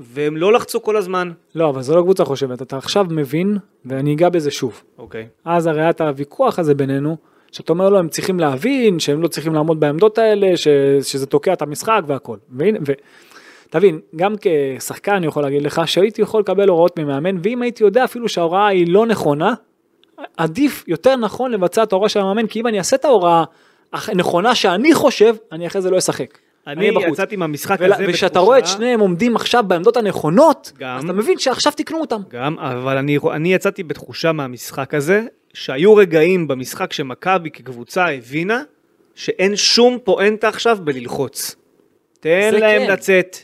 Speaker 2: והם לא לחצו כל הזמן.
Speaker 3: לא, אבל זו לא קבוצה חושבת. אתה עכשיו מבין, ואני אגע בזה שוב.
Speaker 2: אוקיי.
Speaker 3: אז הרי היה את הוויכוח הזה בינינו, שאתה אומר לו הם צריכים להבין שהם לא צריכים לעמוד בעמדות האלה, ש, שזה תוקע את המשחק והכל. והנה, ו... תבין, גם כשחקן אני יכול להגיד לך שהייתי יכול לקבל הוראות ממאמן, ואם הייתי יודע אפילו שההוראה היא לא נכונה, עדיף, יותר נכון לבצע את ההוראה של המאמן, כי אם אני אעשה את ההוראה הנכונה שאני חושב, אני אחרי זה לא אשחק.
Speaker 2: אני
Speaker 3: אהיה בחוץ.
Speaker 2: יצאתי מהמשחק
Speaker 3: ולה-
Speaker 2: הזה
Speaker 3: וכשאתה
Speaker 2: בתחושה-
Speaker 3: רואה את שניהם עומדים עכשיו בעמדות הנכונות,
Speaker 2: גם.
Speaker 3: אז אתה מבין שעכשיו תקנו אותם.
Speaker 2: גם, אבל אני, אני יצאתי בתחושה מהמשחק הזה, שהיו רגעים במשחק שמכבי כקבוצה הבינה שאין שום פואנטה עכשיו בללחוץ. תן
Speaker 3: זה
Speaker 2: להם
Speaker 3: כן.
Speaker 2: לצאת.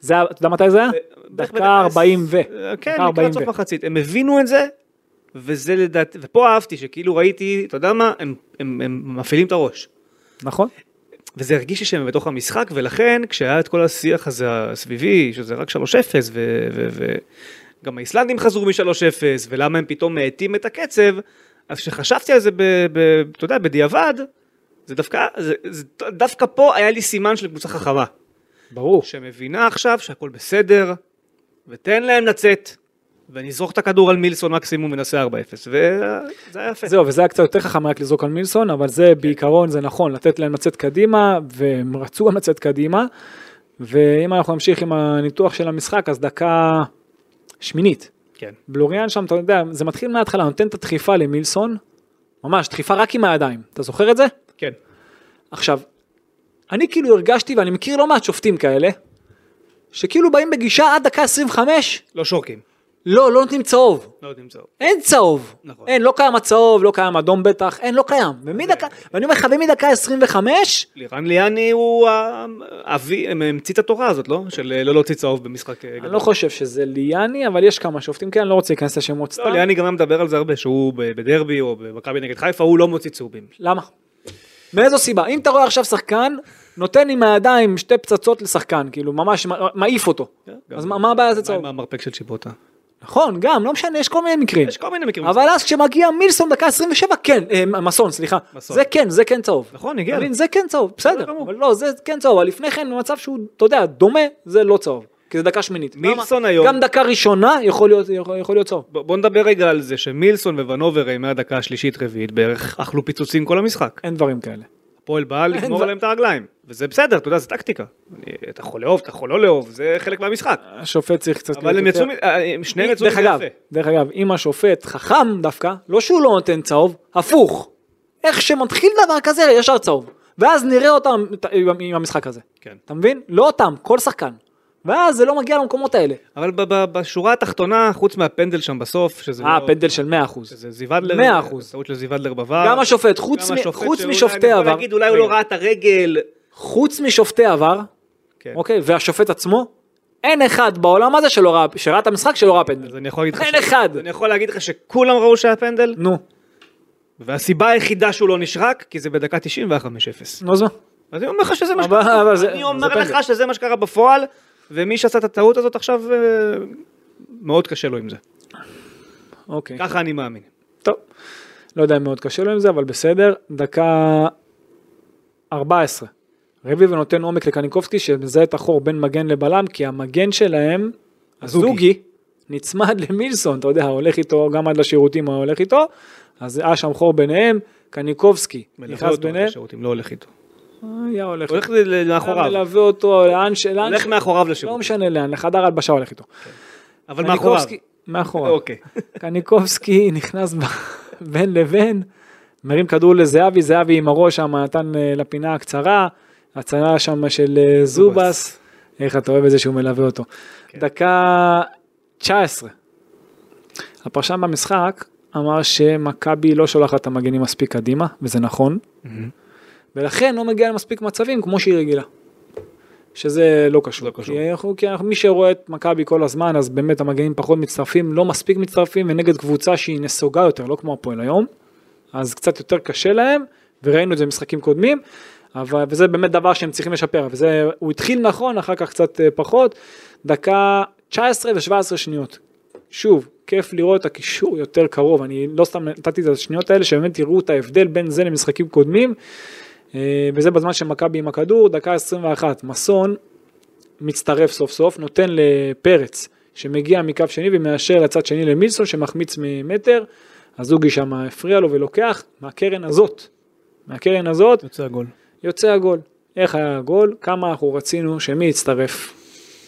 Speaker 3: זה היה, אתה יודע מתי זה היה?
Speaker 2: בערך בדקה
Speaker 3: דקה 40 ו.
Speaker 2: אה,
Speaker 3: דקה
Speaker 2: כן,
Speaker 3: 40
Speaker 2: לקראת
Speaker 3: ו.
Speaker 2: סוף מחצית. הם הבינו את זה, וזה לדעתי, ופה אהבתי שכאילו ראיתי, אתה יודע מה, הם, הם, הם מפעילים את הראש.
Speaker 3: נכון?
Speaker 2: וזה הרגיש לי שהם בתוך המשחק, ולכן כשהיה את כל השיח הזה הסביבי, שזה רק 3-0, ו- ו- ו- גם האיסלנדים חזרו מ-3-0, ולמה הם פתאום מאטים את הקצב, אז כשחשבתי על זה, ב- ב- אתה יודע, בדיעבד, זה דווקא, זה, זה, דווקא פה היה לי סימן של קבוצה חכמה,
Speaker 3: ברור.
Speaker 2: שמבינה עכשיו שהכל בסדר, ותן להם לצאת, ונזרוק את הכדור על מילסון מקסימום ונעשה 4-0, וזה היה יפה.
Speaker 3: זהו, וזה היה קצת יותר חכם רק לזרוק על מילסון, אבל
Speaker 2: כן.
Speaker 3: זה בעיקרון, זה נכון, לתת להם לצאת קדימה, והם רצו גם לצאת קדימה, ואם אנחנו נמשיך עם הניתוח של המשחק, אז דקה שמינית.
Speaker 2: כן.
Speaker 3: בלוריאן שם, אתה יודע, זה מתחיל מההתחלה, נותן את הדחיפה למילסון, ממש, דחיפה רק עם הידיים, אתה זוכר את זה?
Speaker 2: כן.
Speaker 3: עכשיו, אני כאילו הרגשתי, ואני מכיר לא מעט שופטים כאלה, שכאילו באים בגישה עד דקה 25,
Speaker 2: לא שורקים.
Speaker 3: לא, לא נותנים צהוב.
Speaker 2: לא נמצאו.
Speaker 3: אין צהוב.
Speaker 2: נכון. אוקיי.
Speaker 3: אין, לא קיים הצהוב, לא קיים אדום בטח, אין, לא קיים. ומדקה, ואני אומר לך, ומדקה 25,
Speaker 2: לירן ליאני הוא ה- אבי, הם- המציא את התורה הזאת, לא? של אה, לא להוציא צהוב במשחק אה, גדול.
Speaker 3: אני לא חושב שזה ליאני, אבל יש כמה שופטים, כן, אני לא רוצה להיכנס לשמות סתם.
Speaker 2: לא, ליאני גם היה מדבר על זה הרבה, שהוא ב- בדרבי או במכבי נגד חיפה, הוא לא מוציא צהובים.
Speaker 3: למה? מאיזו סיבה? אם אתה רואה עכשיו שחקן, נותן עם הידיים שתי פצצות לשחקן, כאילו, ממש מע- מעיף אותו. אז מה מה הבעיה זה
Speaker 2: כן, מה
Speaker 3: צהוב?
Speaker 2: עם המרפק של צ'יבוטה?
Speaker 3: נכון, גם, לא משנה, יש כל מיני מקרים.
Speaker 2: יש כל מיני מקרים.
Speaker 3: אבל אז כשמגיע מילסון דקה 27, כן, אה, מסון, סליחה.
Speaker 2: מסון.
Speaker 3: זה כן, זה כן צהוב.
Speaker 2: נכון, הגיע
Speaker 3: אתה
Speaker 2: לו.
Speaker 3: מבין? זה כן צהוב, בסדר.
Speaker 2: גמור.
Speaker 3: אבל לא, זה כן צהוב, אבל לפני כן במצב שהוא, אתה יודע, דומה, זה לא צהוב. כי זה דקה שמינית.
Speaker 2: מילסון
Speaker 3: למה?
Speaker 2: היום-
Speaker 3: גם דקה ראשונה יכול להיות- יכול יכול להיות צהוב.
Speaker 2: ב- בוא נדבר רגע על זה שמילסון ווונובר אה, מהדקה השלישית-רביעית בערך אכלו פיצוצים כל המשחק.
Speaker 3: אין דברים כאלה.
Speaker 2: הפועל בא
Speaker 3: ו-
Speaker 2: לגמור עליהם את הרגליים. וזה בסדר, אתה יודע, זה טקטיקה. אני- אתה יכול לאהוב, אתה יכול לא לאהוב, זה חלק מהמשחק.
Speaker 3: השופט צריך קצת...
Speaker 2: אבל
Speaker 3: להיות
Speaker 2: הם
Speaker 3: יותר-
Speaker 2: יצאו, מ- אה, הם שניהם יצאו
Speaker 3: דרך
Speaker 2: מזה
Speaker 3: אגב,
Speaker 2: יפה.
Speaker 3: דרך אגב, אם השופט חכם דווקא, לא שהוא לא נותן צהוב, הפוך. איך שמתחיל דבר כזה, ישר צהוב. ואז נראה אותם את- עם- עם המשחק הזה.
Speaker 2: כן.
Speaker 3: אתה מבין? לא אותם, כל שחקן. ואז זה לא מגיע למקומות האלה.
Speaker 2: אבל ב- ב- בשורה התחתונה, חוץ מהפנדל שם בסוף, שזה
Speaker 3: אה,
Speaker 2: לא-
Speaker 3: פנדל של 100%.
Speaker 2: שזה זיוודלר, אה,
Speaker 3: מאה אחוז.
Speaker 2: טעות של זיוודלר בVAR.
Speaker 3: גם השופט, חוץ
Speaker 2: גם
Speaker 3: מ-
Speaker 2: השופט
Speaker 3: חוץ
Speaker 2: שאולי-
Speaker 3: משופטי
Speaker 2: אני יכול
Speaker 3: עבר.
Speaker 2: להגיד, אולי הוא לא
Speaker 3: רגע.
Speaker 2: ראה את הרגל.
Speaker 3: חוץ משופטי עבר,
Speaker 2: כן.
Speaker 3: אוקיי, והשופט עצמו, אין אחד בעולם הזה שלא ראה, שראה את המשחק שלא ראה
Speaker 2: אז
Speaker 3: פנדל.
Speaker 2: אני יכול להגיד לך...
Speaker 3: אין
Speaker 2: ש-
Speaker 3: אחד.
Speaker 2: אז אני יכול להגיד לך שכולם ראו שהיה פנדל,
Speaker 3: נו,
Speaker 2: והסיבה היחידה שהוא לא נשרק, כי זה בדקה 90 והיה 5-0. אז
Speaker 3: נו אז מה?
Speaker 2: אני אומר לך שזה מה
Speaker 3: אבל- אבל
Speaker 2: שקרה.
Speaker 3: זה-
Speaker 2: אני
Speaker 3: זה
Speaker 2: אומר
Speaker 3: פנדל.
Speaker 2: לך שזה מה שקרה בפועל, ומי שעשה את הטעות הזאת עכשיו, אה, מאוד קשה לו עם זה.
Speaker 3: אוקיי,
Speaker 2: ככה אני מאמין.
Speaker 3: טוב. לא יודע אם מאוד קשה לו עם זה, אבל בסדר. דקה 14. רביבו נותן עומק לקניקובסקי שמזהה את החור בין מגן לבלם, כי המגן שלהם, הזוגי, נצמד למילסון, אתה יודע, הולך איתו, גם עד לשירותים הוא הולך איתו, אז היה שם חור ביניהם, קניקובסקי
Speaker 2: מלווה
Speaker 3: נכנס
Speaker 2: אותו את
Speaker 3: ביניהם,
Speaker 2: השירותים, לא הולך איתו.
Speaker 3: היה הולך,
Speaker 2: הולך ל-
Speaker 3: היה
Speaker 2: מאחוריו,
Speaker 3: מלווה אותו, לאן ש... לאן
Speaker 2: הולך
Speaker 3: ש-
Speaker 2: מאחוריו
Speaker 3: לא
Speaker 2: לשירותים,
Speaker 3: משנה לאן, לחדר הלבשה הולך איתו.
Speaker 2: אבל מאחוריו.
Speaker 3: קניקובסקי- מאחוריו.
Speaker 2: אוקיי.
Speaker 3: קניקובסקי נכנס ב- בין לבין, מרים כדור לזהבי, זהבי עם הראש שם נתן אה, לפינה הקצרה, הצלה שם של אה, זובס, איך אתה אוהב את זה שהוא מלווה אותו.
Speaker 2: כן.
Speaker 3: דקה 19. הפרשן במשחק אמר שמכבי לא שולחת את המגנים מספיק קדימה, וזה נכון, ולכן לא מגיעה למספיק מצבים כמו שהיא רגילה. שזה לא קשור.
Speaker 2: לא קשור.
Speaker 3: כי, אנחנו, כי אנחנו, מי שרואה את מכבי כל הזמן, אז באמת המגנים פחות מצטרפים, לא מספיק מצטרפים, ונגד קבוצה שהיא נסוגה יותר, לא כמו הפועל היום, אז קצת יותר קשה להם, וראינו את זה במשחקים קודמים, אבל, וזה באמת דבר שהם צריכים לשפר, וזה, הוא התחיל נכון, אחר כך קצת אה, פחות, דקה 19 ו-17 שניות. שוב, כיף לראות את הקישור יותר קרוב, אני לא סתם נתתי את השניות האלה, שבאמת תראו את ההבדל בין זה למשחקים קודמים, אה, וזה בזמן שמכבי עם הכדור, דקה 21, מסון מצטרף סוף סוף, נותן לפרץ שמגיע מקו שני ומאשר לצד שני למילסון שמחמיץ ממטר, הזוגי שם הפריע לו ולוקח מהקרן הזאת, מהקרן הזאת
Speaker 2: יוצא הגול.
Speaker 3: יוצא הגול. איך היה הגול? כמה אנחנו רצינו שמי יצטרף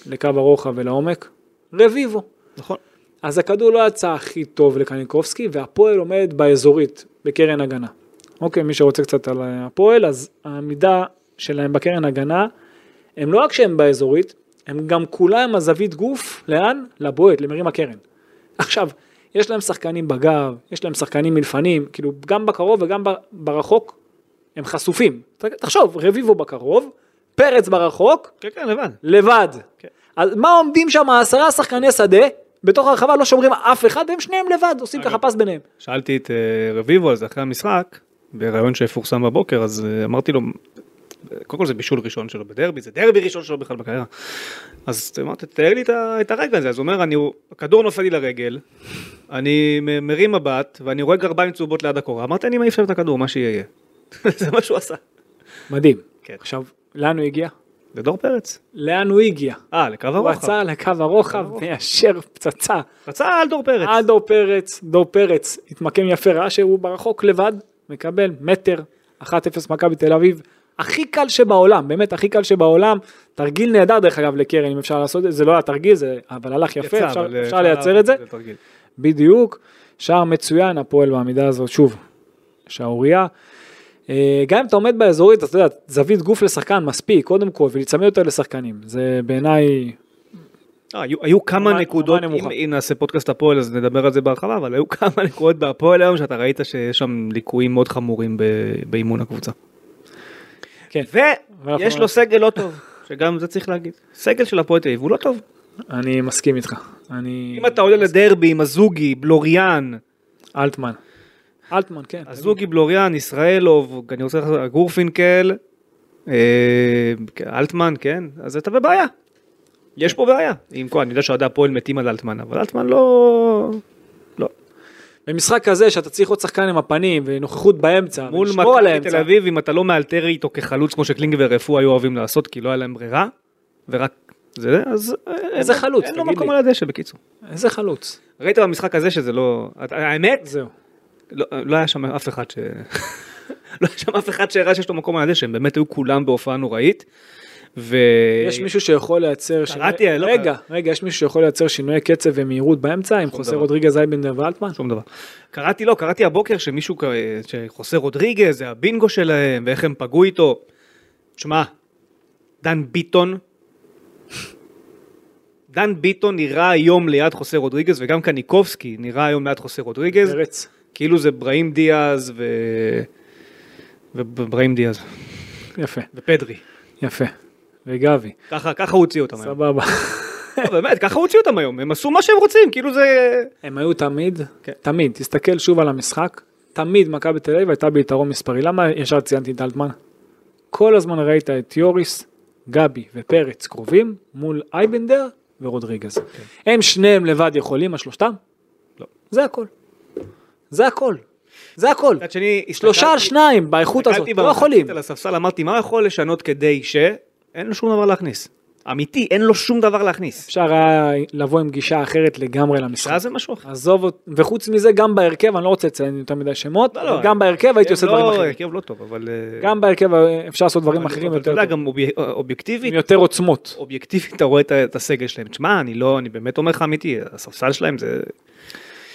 Speaker 3: לקו הרוחב ולעומק? רביבו.
Speaker 2: נכון.
Speaker 3: אז הכדור לא יצא הכי טוב לקניקובסקי, והפועל עומד באזורית, בקרן הגנה. אוקיי, מי שרוצה קצת על הפועל, אז העמידה שלהם בקרן הגנה, הם לא רק שהם באזורית, הם גם כולם הזווית גוף, לאן? לבועט, למרים הקרן. עכשיו, יש להם שחקנים בגב, יש להם שחקנים מלפנים, כאילו גם בקרוב וגם ב- ברחוק, הם חשופים. ת- תחשוב, רביבו בקרוב, פרץ ברחוק,
Speaker 2: כן, כן, לבד.
Speaker 3: לבד.
Speaker 2: כן.
Speaker 3: אז מה עומדים שם עשרה שחקני שדה, בתוך הרחבה לא שומרים אף אחד, והם שניהם לבד, עושים
Speaker 2: אגב.
Speaker 3: ככה פס ביניהם.
Speaker 2: שאלתי את אה, רביבו על זה אחרי המשחק, בריאיון שיפורסם בבוקר, אז אה, אמרתי לו, קודם כל זה בישול ראשון שלו בדרבי, זה דרבי ראשון שלו בכלל בקריירה. אז אמרתי, תאר לי את ה- את הרגע הזה, אז הוא אומר, "אני- הכדור נופל לי לרגל, אני מ- מרים מבט, ואני רואה גרביים צהובות ליד הקורה, אמרתי, אני מעיף שם את הכדור, מה שיהיה. זה מה שהוא עשה.
Speaker 3: מדהים.
Speaker 2: כן.
Speaker 3: עכשיו, לאן הוא הגיע?
Speaker 2: לדור פרץ.
Speaker 3: לאן הוא הגיע?
Speaker 2: אה, לקו
Speaker 3: הוא
Speaker 2: הרוחב.
Speaker 3: עצר לקו הרוחב, מיישר פצצה.
Speaker 2: רצה על דור פרץ.
Speaker 3: עד דור פרץ, דור פרץ התמקם יפה, ראה שהוא ברחוק לבד, מקבל מטר, 1-0 מכבי תל אביב, הכי קל שבעולם, באמת הכי קל שבעולם, תרגיל נהדר דרך אגב לקרן, אם אפשר לעשות את זה, זה לא היה תרגיל, זה, אבל הלך יפה,
Speaker 2: יצא,
Speaker 3: אפשר,
Speaker 2: אבל, אה,
Speaker 3: אפשר לייצר את זה,
Speaker 2: תרגיל.
Speaker 3: בדיוק, שער מצוין, הפועל בעמידה הזאת, שוב, שערורייה. אה, גם אם אתה עומד באזורית, אז אתה יודע, זווית גוף לשחקן מספיק, קודם כל, ולהיצמד יותר לשחקנים, זה בעיניי,
Speaker 2: אה, היו, היו כמה
Speaker 3: רמה-
Speaker 2: נקודות,
Speaker 3: רמה נמוכה.
Speaker 2: אם, אם נעשה פודקאסט הפועל אז נדבר על זה בהרחבה, אבל היו כמה נקודות בהפועל היום שאתה ראית שיש שם ליקויים מאוד חמורים ב, באימון הקבוצה.
Speaker 3: כן.
Speaker 2: ויש לו סגל לא טוב, שגם זה צריך להגיד. סגל של הפועל תל אביב הוא לא טוב.
Speaker 3: אני מסכים איתך, אני...
Speaker 2: אם אתה עולה לדרבי עם הזוגי, בלוריאן,
Speaker 3: אלטמן. אלטמן, כן.
Speaker 2: הזוגי, בלוריאן, ישראלוב, אני רוצה לחזור, גורפינקל, אה, אלטמן, כן, אז אתה בבעיה. יש פה בעיה. עם כל, אני יודע שאוהדי הפועל מתים על אלטמן, אבל אלטמן לא... לא.
Speaker 3: במשחק כזה שאתה צריך עוד שחקן עם הפנים ונוכחות באמצע,
Speaker 2: מול
Speaker 3: ולשמור על
Speaker 2: מכבי
Speaker 3: האמצע.
Speaker 2: תל אביב, אם אתה לא מאלתר איתו כחלוץ, כמו שקלינג ורפואה היו אוהבים לעשות, כי לא היה להם ברירה, ורק זה, אז... אה,
Speaker 3: איזה
Speaker 2: אין-
Speaker 3: חלוץ,
Speaker 2: אין לו
Speaker 3: תגיד לי.
Speaker 2: מקום על הדשא, בקיצור.
Speaker 3: איזה חלוץ.
Speaker 2: ראית במשחק הזה שזה לא... האמת,
Speaker 3: זהו.
Speaker 2: לא לא היה שם אף אחד ש... לא היה שם אף אחד שהראה שיש לו מקום על הדשא, הם באמת היו כולם בהופעה נוראית. ו...
Speaker 3: יש מישהו שיכול לייצר... שינוי-
Speaker 2: אה, קראתי, לא
Speaker 3: רגע, רגע, יש מישהו שיכול לייצר שינוי קצב ומהירות באמצע עם חוסר
Speaker 2: דבר.
Speaker 3: רודריגז אייבנדר ואלטמן?
Speaker 2: שום דבר. קראתי, לא, קראתי הבוקר שמישהו, ק- שחוסה רודריגז, זה הבינגו שלהם, ואיך הם פגעו איתו. תשמע, דן ביטון, דן ביטון נראה היום ליד חוסה רודריגז, וגם קניקובסקי נראה היום ליד חוסה רודריגז,
Speaker 3: פרץ.
Speaker 2: כאילו זה בראים דיאז ו... ובראים דיאז,
Speaker 3: יפה,
Speaker 2: ופדרי.
Speaker 3: יפה. וגבי,
Speaker 2: ככה, ככה הוציאו אותם היום.
Speaker 3: סבבה.
Speaker 2: לא, באמת, ככה הוציאו אותם היום, הם עשו מה שהם רוצים, כאילו זה...
Speaker 3: הם היו תמיד,
Speaker 2: כן.
Speaker 3: תמיד, תסתכל שוב על המשחק, תמיד מכבי תל אביב הייתה ביתרון מספרי. למה ישר ציינתי את אלטמן? כל הזמן ראית את יוריס, גבי ופרץ קרובים מול אייבנדר ורודריגז.
Speaker 2: כן.
Speaker 3: הם שניהם לבד יכולים, השלושתם?
Speaker 2: לא.
Speaker 3: זה הכל. זה הכל. זה הכל.
Speaker 2: מצד שני,
Speaker 3: שלושה על
Speaker 2: הסתכלתי-
Speaker 3: שניים באיכות הזאת,
Speaker 2: הסתכלתי
Speaker 3: לא
Speaker 2: במחצית
Speaker 3: יכולים.
Speaker 2: על הספסל, אמרתי, מה יכול לשנות כדי ש... אין לו שום דבר להכניס. אמיתי, אין לו שום דבר להכניס.
Speaker 3: אפשר היה לבוא עם גישה אחרת לגמרי למשחק.
Speaker 2: שעה זה משהו אחר.
Speaker 3: עזוב, אות- וחוץ מזה גם בהרכב, אני לא רוצה לציין יותר מדי שמות,
Speaker 2: לא, לא,
Speaker 3: אבל גם בהרכב הייתי עושה
Speaker 2: לא,
Speaker 3: דברים אחרים.
Speaker 2: הרכב לא טוב, אבל... אה,
Speaker 3: גם בהרכב אה, אפשר לעשות דברים
Speaker 2: אבל-
Speaker 3: אחרים
Speaker 2: אבל
Speaker 3: יותר
Speaker 2: אתה יודע,
Speaker 3: טוב,
Speaker 2: גם אובי-
Speaker 3: עם
Speaker 2: אובייקטיבית,
Speaker 3: יותר עוצמות.
Speaker 2: אובייקטיבית אתה רואה את ה- את הסגל שלהם. תשמע, אני לא, אני באמת אומר לך אמיתי, הספסל שלהם זה...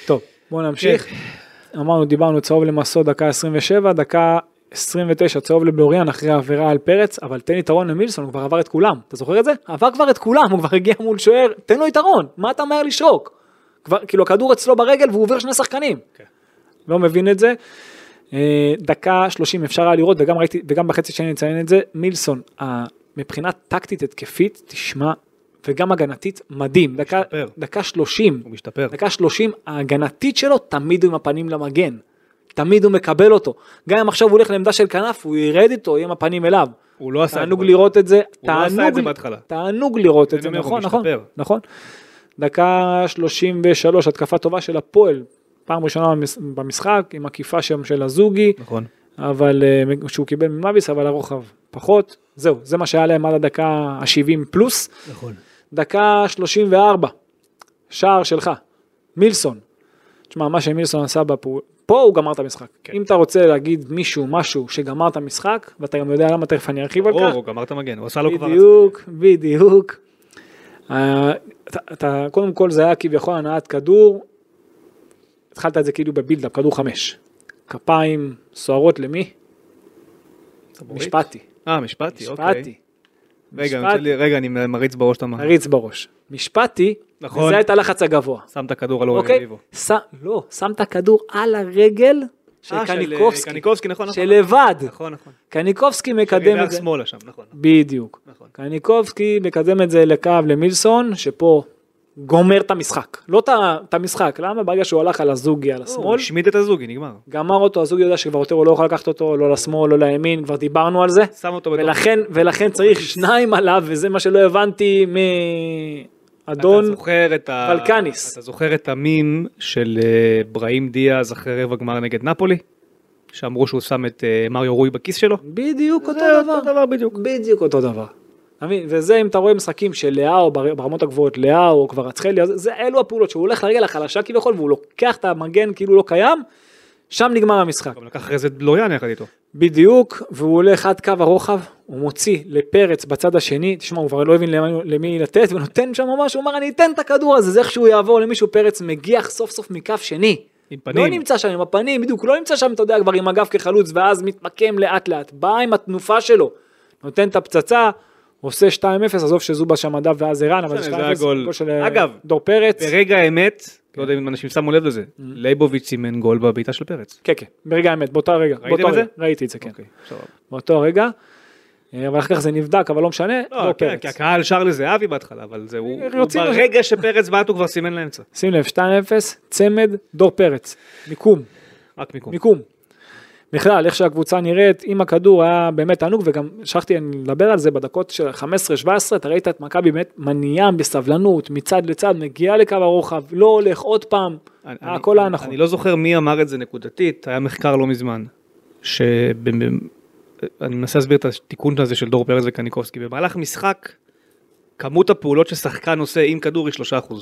Speaker 3: טוב, בואו נמשיך.
Speaker 2: כן.
Speaker 3: אמרנו, דיברנו צהוב למסו דקה 27, דקה 29 צהוב לבלוריאן אחרי העבירה על פרץ, אבל תן יתרון למילסון, הוא כבר עבר את כולם. אתה זוכר את זה? עבר כבר את כולם, הוא כבר הגיע מול שוער, תן לו יתרון, מה אתה מהר לשרוק? כבר, כאילו הכדור אצלו ברגל והוא עובר שני שחקנים.
Speaker 2: כן.
Speaker 3: לא מבין את זה. אה, דקה 30 אפשר היה לראות, וגם, ראיתי, וגם בחצי שני נציין את זה, מילסון, אה, מבחינה טקטית התקפית, תשמע, וגם הגנתית, מדהים. דקה,
Speaker 2: משתפר.
Speaker 3: דקה 30.
Speaker 2: הוא משתפר.
Speaker 3: דקה 30, ההגנתית שלו תמיד הוא עם הפנים למגן. תמיד הוא מקבל אותו. גם אם עכשיו הוא הולך לעמדה של כנף, הוא ירד איתו, יהיה עם הפנים אליו.
Speaker 2: הוא לא עשה את זה.
Speaker 3: תענוג לראות את זה.
Speaker 2: הוא לא עשה
Speaker 3: תענוג-
Speaker 2: את זה בהתחלה.
Speaker 3: תענוג לראות את
Speaker 2: אני
Speaker 3: זה,
Speaker 2: אומר, הוא
Speaker 3: נכון, נכון,
Speaker 2: משתפר.
Speaker 3: נכון. דקה 33, התקפה טובה של הפועל. פעם ראשונה במש- במשחק, עם עקיפה שם של הזוגי,
Speaker 2: נכון.
Speaker 3: אבל אה, שהוא קיבל ממאביס, אבל הרוחב פחות. זהו, זה מה שהיה להם עד הדקה ה-70 פלוס.
Speaker 2: נכון.
Speaker 3: דקה 34, שער שלך, מילסון. תשמע, מה שמילסון עשה בפעול, פה הוא גמר את המשחק. כן. אם אתה רוצה להגיד מישהו, משהו שגמר את המשחק, ואתה גם יודע למה, תכף אני ארחיב על
Speaker 2: ברור,
Speaker 3: כך.
Speaker 2: הוא גמר את המגן, הוא עשה לו כבר...
Speaker 3: בדיוק, בדיוק. אה, אתה, אתה, קודם כל זה היה כביכול הנעת כדור, התחלת את זה כאילו בבילדאפ, כדור חמש. כפיים סוערות למי?
Speaker 2: סבורית?
Speaker 3: משפטי.
Speaker 2: אה, משפטי, אוקיי.
Speaker 3: משפטי.
Speaker 2: רגע,
Speaker 3: משפט-
Speaker 2: יוצא לי- רגע, אני מריץ בראש את המ...
Speaker 3: הריץ בראש. משפטי,
Speaker 2: נכון.
Speaker 3: נכון. זה את הלחץ הגבוה.
Speaker 2: שם את הכדור על אורי
Speaker 3: אוקיי?
Speaker 2: רביבו.
Speaker 3: ש... לא, שם את הכדור על הרגל של
Speaker 2: אה,
Speaker 3: קניקובסקי.
Speaker 2: קניקובסקי, נכון, נכון.
Speaker 3: שלבד.
Speaker 2: נכון, נכון.
Speaker 3: קניקובסקי מקדם את
Speaker 2: קדם
Speaker 3: זה.
Speaker 2: שמאלה שם, נכון.
Speaker 3: בדיוק.
Speaker 2: נכון.
Speaker 3: קניקובסקי מקדם את זה לקו למילסון, שפה גומר את המשחק. לא את ה- את המשחק, למה? ברגע שהוא הלך על הזוגי, על
Speaker 2: הוא
Speaker 3: השמאל,
Speaker 2: השמיד את הזוגי, נגמר.
Speaker 3: גמר אותו, הזוגי יודע שכבר יותר הוא לא יכול לקחת אותו, לא לשמאל, לא לימין, כבר דיברנו על זה.
Speaker 2: שם אותו בתוך...
Speaker 3: ולכן, ולכן צריך שניים עליו, וזה מה שלא הבנתי מאדון.
Speaker 2: אתה זוכר את ה...
Speaker 3: ולקניס.
Speaker 2: אתה זוכר את המים של אה, בראים דיאז אחרי רבע גמר נגד נפולי? שאמרו שהוא שם את אה, מריו רוי בכיס שלו?
Speaker 3: בדיוק אותו
Speaker 2: זה
Speaker 3: דבר.
Speaker 2: אותו דבר בדיוק.
Speaker 3: בדיוק אותו דבר. אתה מבין? וזה אם אתה רואה משחקים של לאהו בר- ברמות הגבוהות, לאהו, כבר אצחלי, אז זה אלו הפעולות שהוא הולך לרגל החלשה כביכול והוא לוקח את המגן כאילו לא קיים, שם נגמר המשחק.
Speaker 2: גם לקח אחרי זה את בלוריאן יחד איתו.
Speaker 3: בדיוק, והוא הולך עד קו הרוחב, הוא מוציא לפרץ בצד השני, תשמע, הוא כבר לא הבין למי, למי לתת, ונותן שם ממש, הוא אמר, אני אתן את הכדור הזה, זה איך שהוא יעבור למישהו, פרץ מגיח סוף סוף מקו שני.
Speaker 2: עם פנים.
Speaker 3: לא נמצא שם עם הפנים, בדיוק, לא נמצא שם, אתה יודע, כבר עם הגב כחלוץ, ואז מתמקם לאט לאט, בא עם התנופה שלו, נותן את הפצצה, עושה 2-0, עזוב שזובה שם הדף ואז ערן, אבל
Speaker 2: בסדר,
Speaker 3: זה
Speaker 2: זה
Speaker 3: 2-0,
Speaker 2: הגול.
Speaker 3: גול של אה,
Speaker 2: אגב,
Speaker 3: דור פרץ.
Speaker 2: ברגע האמת, לא יודע אם אנשים שמו לב
Speaker 3: Mm.
Speaker 2: לזה, לייבוביץ' סימן גול בבעיטה של פרץ.
Speaker 3: כן, כן, ברגע האמת, באותה רגע.
Speaker 2: ראיתם
Speaker 3: באותו
Speaker 2: את זה?
Speaker 3: רגע, ראיתי את זה, כן.
Speaker 2: אוקיי, סבבה.
Speaker 3: באותו רגע. אה, אבל אחר כך זה נבדק, אבל לא משנה,
Speaker 2: לא,
Speaker 3: דור
Speaker 2: כן,
Speaker 3: פרץ.
Speaker 2: כי הקהל שר לזהבי בהתחלה, אבל זה הוא... הוא
Speaker 3: רוצים-
Speaker 2: ברגע שפרץ בעט הוא כבר סימן לאמצע.
Speaker 3: שים לב, 2-0, צמד, דור פרץ. מיקום,
Speaker 2: רק מיקום.
Speaker 3: מיקום. בכלל, איך שהקבוצה נראית, עם הכדור היה באמת תענוג, וגם שכחתי לדבר על זה בדקות של 15-17, אתה ראית את מכבי באמת מניעה בסבלנות, מצד לצד, מגיעה לקו הרוחב, לא הולך עוד פעם,
Speaker 2: אני-
Speaker 3: היה
Speaker 2: אני-
Speaker 3: הכל היה נכון.
Speaker 2: אני לא זוכר מי אמר את זה נקודתית, היה מחקר לא מזמן, ש... אני מנסה להסביר את התיקון הזה של דור פרץ וקניקובסקי. במהלך משחק, כמות הפעולות ששחקן עושה עם כדור היא 3%.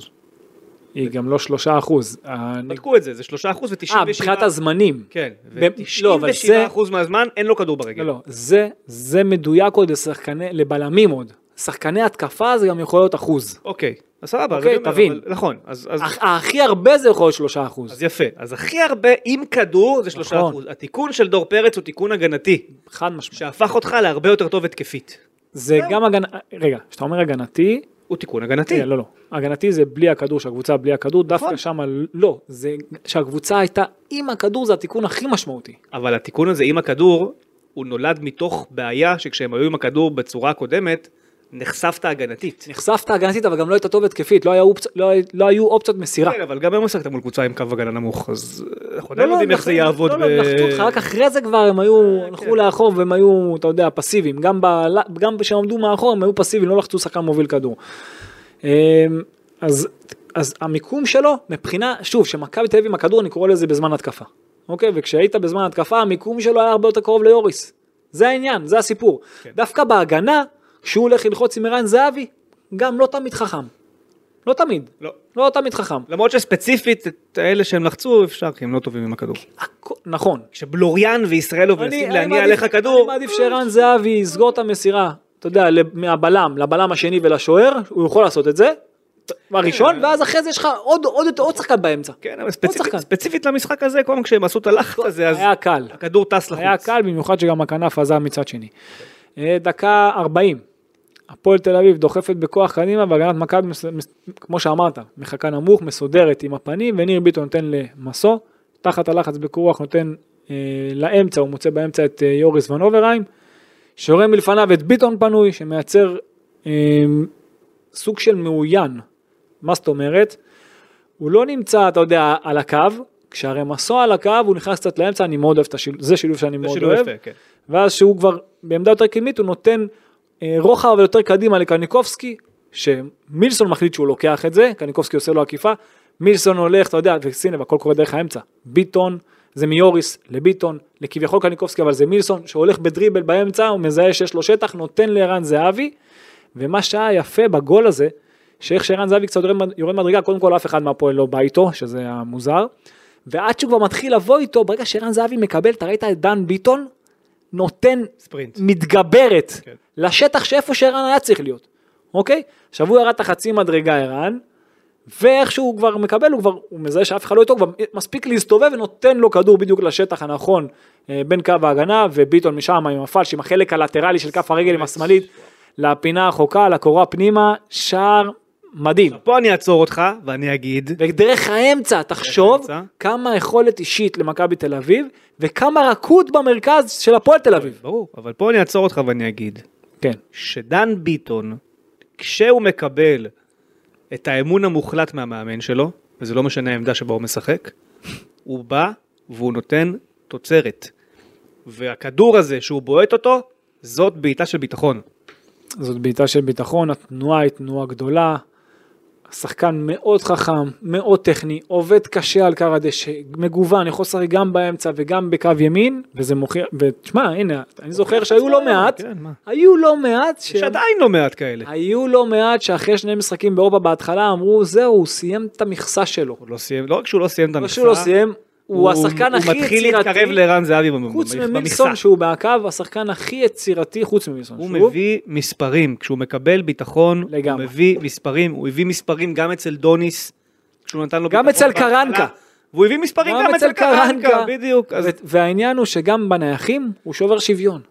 Speaker 3: היא גם לא שלושה אחוז. אה,
Speaker 2: בדקו את זה, זה 3% ו-97%.
Speaker 3: אה, מבחינת הזמנים.
Speaker 2: כן,
Speaker 3: ב- לא, אבל זה-
Speaker 2: ו-97% מהזמן אין לו כדור ברגל.
Speaker 3: לא, לא, זה, זה מדויק עוד לשחקני, לבלמים עוד. שחקני התקפה זה גם יכול להיות אחוז.
Speaker 2: אוקיי, אז סבבה. אז
Speaker 3: אוקיי,
Speaker 2: אני אומר,
Speaker 3: תבין.
Speaker 2: אבל- נכון, אז... אז-
Speaker 3: הכ- הכי הרבה זה יכול להיות שלושה אחוז,
Speaker 2: אז יפה, אז הכי הרבה עם כדור זה שלושה
Speaker 3: נכון.
Speaker 2: אחוז. התיקון של דור פרץ הוא תיקון הגנתי,
Speaker 3: חד משמעית.
Speaker 2: שהפך אותך להרבה יותר טוב התקפית.
Speaker 3: זה גם הגנה, רגע, כשאתה אומר הגנתי,
Speaker 2: הוא תיקון הגנתי.
Speaker 3: רגע, לא, לא, הגנתי זה בלי הכדור, שהקבוצה בלי הכדור,
Speaker 2: נכון.
Speaker 3: דווקא שם, לא, זה שהקבוצה הייתה עם הכדור, זה התיקון הכי משמעותי.
Speaker 2: אבל התיקון הזה עם הכדור, הוא נולד מתוך בעיה שכשהם היו עם הכדור בצורה הקודמת, נחשפת הגנתית.
Speaker 3: נחשפת הגנתית, אבל גם לא הייתה טוב התקפית, לא, היה אופצ... לא, היה- לא היו אופציות מסירה.
Speaker 2: כן, אבל גם היום משחקת מול קבוצה עם קו הגנה נמוך, אז אנחנו
Speaker 3: לא,
Speaker 2: עדיין
Speaker 3: לא,
Speaker 2: לא יודעים איך זה
Speaker 3: אנחנו-
Speaker 2: יעבוד.
Speaker 3: לא, לא,
Speaker 2: ב- אה, כן.
Speaker 3: נחתו אותך, רק אחרי זה כבר הם היו, הלכו לאחור והם היו, אתה יודע, פסיביים. גם ב- גם כשהם עמדו מאחור הם היו פסיביים, לא לחצו שחקן מוביל כדור. אמ, אז אז המיקום שלו, מבחינה, שוב, שמכבי תל אביב עם הכדור, אני קורא לזה בזמן התקפה. אוקיי? וכשהיית בזמן ההתקפה, המיקום שלו היה הרבה יותר קרוב ליוריס. זה העניין, זה הסיפור.
Speaker 2: כן.
Speaker 3: דווקא בהגנה, כשהוא הולך ללחוץ עם ערן זהבי, גם לא תמיד חכם. לא תמיד.
Speaker 2: לא.
Speaker 3: לא תמיד חכם.
Speaker 2: למרות שספציפית את האלה שהם לחצו אפשר כי הם לא טובים עם הכדור.
Speaker 3: הכ- נכון.
Speaker 2: כשבלוריאן וישראלוב מנסים
Speaker 3: אני
Speaker 2: להניע
Speaker 3: מעדיף-
Speaker 2: עליך כדור,
Speaker 3: אני מעדיף שערן זהבי יסגור את המסירה, אתה יודע, לב- מהבלם, לבלם השני ולשוער, הוא יכול לעשות את זה, בראשון, ואז אחרי זה יש לך עוד- עוד עוד שחקן באמצע.
Speaker 2: כן, אבל
Speaker 3: עוד
Speaker 2: ספציפית-
Speaker 3: שחקן.
Speaker 2: ספציפית למשחק הזה, קודם כשהם עשו את הלחץ הזה, אז
Speaker 3: היה קל.
Speaker 2: הכדור טס לחוץ.
Speaker 3: היה קל, במיוחד שגם הכנף עזב מצד שני. אה, דקה 40, הפועל תל אביב דוחפת בכוח קדימה, והגנת מכבי, מס- מס- כמו שאמרת, מחכה נמוך, מסודרת עם הפנים, וניר ביטון נותן למסו, תחת הלחץ בקורוח נותן אה, לאמצע, הוא מוצא באמצע את אה, יוריס ון אוברהיים, שורה מלפניו את ביטון פנוי, שמייצר אה, סוג של מאוין. מה זאת אומרת? הוא לא נמצא, אתה יודע, על הקו, כשהרי מסוע על הקו, הוא נכנס קצת לאמצע, אני מאוד אוהב את השילוב, זה שילוב שאני
Speaker 2: זה
Speaker 3: מאוד
Speaker 2: שילוב
Speaker 3: אוהב.
Speaker 2: יפה, כן.
Speaker 3: ואז שהוא כבר בעמדה יותר קדמית, הוא נותן אה, רוחב אבל יותר קדימה לקניקובסקי, שמילסון מחליט שהוא לוקח את זה, קניקובסקי עושה לו עקיפה, מילסון הולך, אתה יודע, וסינה, והכל קורה דרך האמצע. ביטון, זה מיוריס לביטון, לכביכול קניקובסקי, אבל זה מילסון, שהולך בדריבל באמצע, הוא מזהה שיש לו שטח, נותן לערן זהבי, ומה שהיה יפה בגול הזה, שאיך שערן זהבי קצת יורד, מד- יורד מדרגה, קודם כל אף אחד מהפועל לא בא איתו, שזה המוזר, ועד שהוא כבר מתחיל לבוא איתו, ברגע שערן זהבי מקבל, אתה ראית את דן ביטון, נותן
Speaker 2: ספרינט.
Speaker 3: מתגברת
Speaker 2: כן.
Speaker 3: לשטח שאיפה שערן היה צריך להיות, אוקיי? עכשיו הוא ירד את החצי מדרגה ערן, ואיך שהוא כבר מקבל, הוא כבר, הוא מזהה שאף אחד לא איתו, כבר מספיק להסתובב ונותן לו כדור בדיוק לשטח הנכון אה, בין קו ההגנה, וביטון משם עם הפלש, עם החלק הלטרלי של כף הרגל עם השמאלית, לפינה החוקה, לקורה פנימה, שער מדהים.
Speaker 2: פה אני אעצור אותך ואני אגיד,
Speaker 3: ודרך האמצע, תחשוב
Speaker 2: האמצע.
Speaker 3: כמה יכולת אישית למכבי תל אביב, וכמה רכות במרכז של הפועל תל אביב.
Speaker 2: ברור, אבל פה אני אעצור אותך ואני אגיד,
Speaker 3: כן.
Speaker 2: שדן ביטון, כשהוא מקבל את האמון המוחלט מהמאמן שלו, וזה לא משנה העמדה שבה הוא משחק, הוא בא והוא נותן תוצרת. והכדור הזה שהוא בועט אותו, זאת בעיטה של ביטחון.
Speaker 3: זאת בעיטה של ביטחון, התנועה היא תנועה גדולה. שחקן מאוד חכם, מאוד טכני, עובד קשה על קר הדשא, מגוון, יכול לשחק גם באמצע וגם בקו ימין, וזה מוכיח, ותשמע, הנה, אני זוכר שהיו לא מעט,
Speaker 2: כן, מה?
Speaker 3: היו לא מעט, ש-
Speaker 2: יש עדיין לא מעט כאלה.
Speaker 3: היו לא מעט שאחרי שני משחקים באירופה בהתחלה אמרו, זהו, הוא סיים את המכסה שלו.
Speaker 2: הוא לא סיים, לא רק שהוא לא סיים את
Speaker 3: לא
Speaker 2: המכסה,
Speaker 3: שהוא לא סיים, הוא השחקן הכי
Speaker 2: הוא מתחיל להתקרב
Speaker 3: יצירתי,
Speaker 2: לערן זהבי במ-
Speaker 3: חוץ
Speaker 2: במכ-
Speaker 3: ממילסון
Speaker 2: במכסה.
Speaker 3: שהוא בהקו, השחקן הכי יצירתי, חוץ ממילסון,
Speaker 2: הוא
Speaker 3: שוב,
Speaker 2: מביא מספרים, כשהוא מקבל ביטחון, הוא
Speaker 3: לגמרי.
Speaker 2: מביא מספרים, הוא הביא מספרים גם אצל דוניס, כשהוא נתן לו
Speaker 3: גם
Speaker 2: ביטחון
Speaker 3: אצל
Speaker 2: בהתחלה,
Speaker 3: קרנקה.
Speaker 2: והוא הביא מספרים גם אצל קרנקה, בדיוק. אז
Speaker 3: ו- והעניין הוא שגם בנייחים הוא שובר שוויון.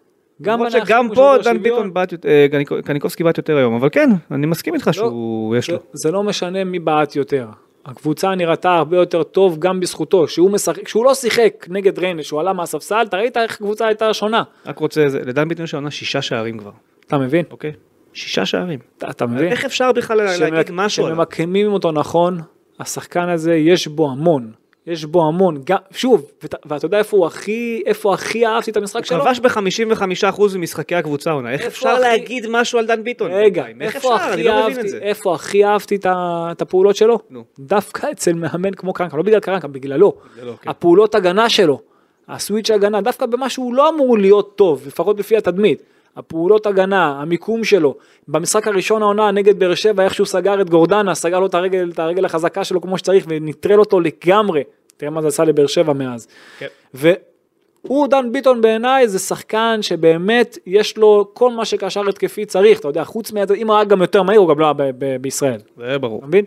Speaker 3: גם
Speaker 2: למרות
Speaker 3: בנייחים
Speaker 2: שגם פה
Speaker 3: הוא שובר
Speaker 2: דן
Speaker 3: שוויון.
Speaker 2: ביטון בעט, יותר- אה, קניקו- קניקובסקי בעט יותר היום, אבל כן, אני מסכים איתך שהוא, יש לו.
Speaker 3: זה- זה לא משנה מי בעט יותר. הקבוצה נראתה הרבה יותר טוב גם בזכותו. שהוא משחק, כשהוא לא שיחק נגד ריינס, שהוא עלה מהספסל, אתה ראית איך הקבוצה הייתה שונה.
Speaker 2: רק רוצה, איזה- לדן ביטון יש העונה שישה שערים כבר,
Speaker 3: אתה מבין?
Speaker 2: אוקיי? שישה שערים.
Speaker 3: אתה- אתה מבין?
Speaker 2: איך אפשר בכלל להגיד משהו עליו?
Speaker 3: כשממקמים אותו נכון, השחקן הזה יש בו המון. יש בו המון, גם, שוב, ואת- ואתה יודע איפה הוא הכי, איפה הכי אהבתי את המשחק
Speaker 2: הוא
Speaker 3: שלו?
Speaker 2: כבש ב-55% ממשחקי הקבוצה העונה, איך
Speaker 3: איפה
Speaker 2: אפשר
Speaker 3: הכי-
Speaker 2: להגיד משהו על דן ביטון?
Speaker 3: רגע,
Speaker 2: איך
Speaker 3: איפה
Speaker 2: אפשר? אני
Speaker 3: הכי
Speaker 2: לא מבין את
Speaker 3: אהבתי,
Speaker 2: זה.
Speaker 3: איפה הכי אהבתי את ה- את הפעולות שלו?
Speaker 2: נו.
Speaker 3: דווקא אצל מאמן כמו קרנקה, לא בגלל קרנקה, בגללו.
Speaker 2: בגללו, כן.
Speaker 3: הפעולות הגנה שלו, הסוויץ' הגנה, דווקא במה שהוא לא אמור להיות טוב, לפחות לפי התדמית. הפעולות הגנה, המיקום שלו, במשחק הראשון העונה נגד באר שבע, איך שהוא סגר את גורדנה, סגר לו את הרגל, את הרגל החזקה שלו כמו שצריך ונטרל אותו לגמרי. תראה מה זה עשה לבאר שבע מאז.
Speaker 2: כן.
Speaker 3: והוא, דן ביטון בעיניי, זה שחקן שבאמת יש לו כל מה שקשר התקפי צריך, אתה יודע, חוץ מה... אם הוא היה גם יותר מהיר, הוא גם לא היה ב- ב- בישראל,
Speaker 2: זה ברור.
Speaker 3: אתה מבין?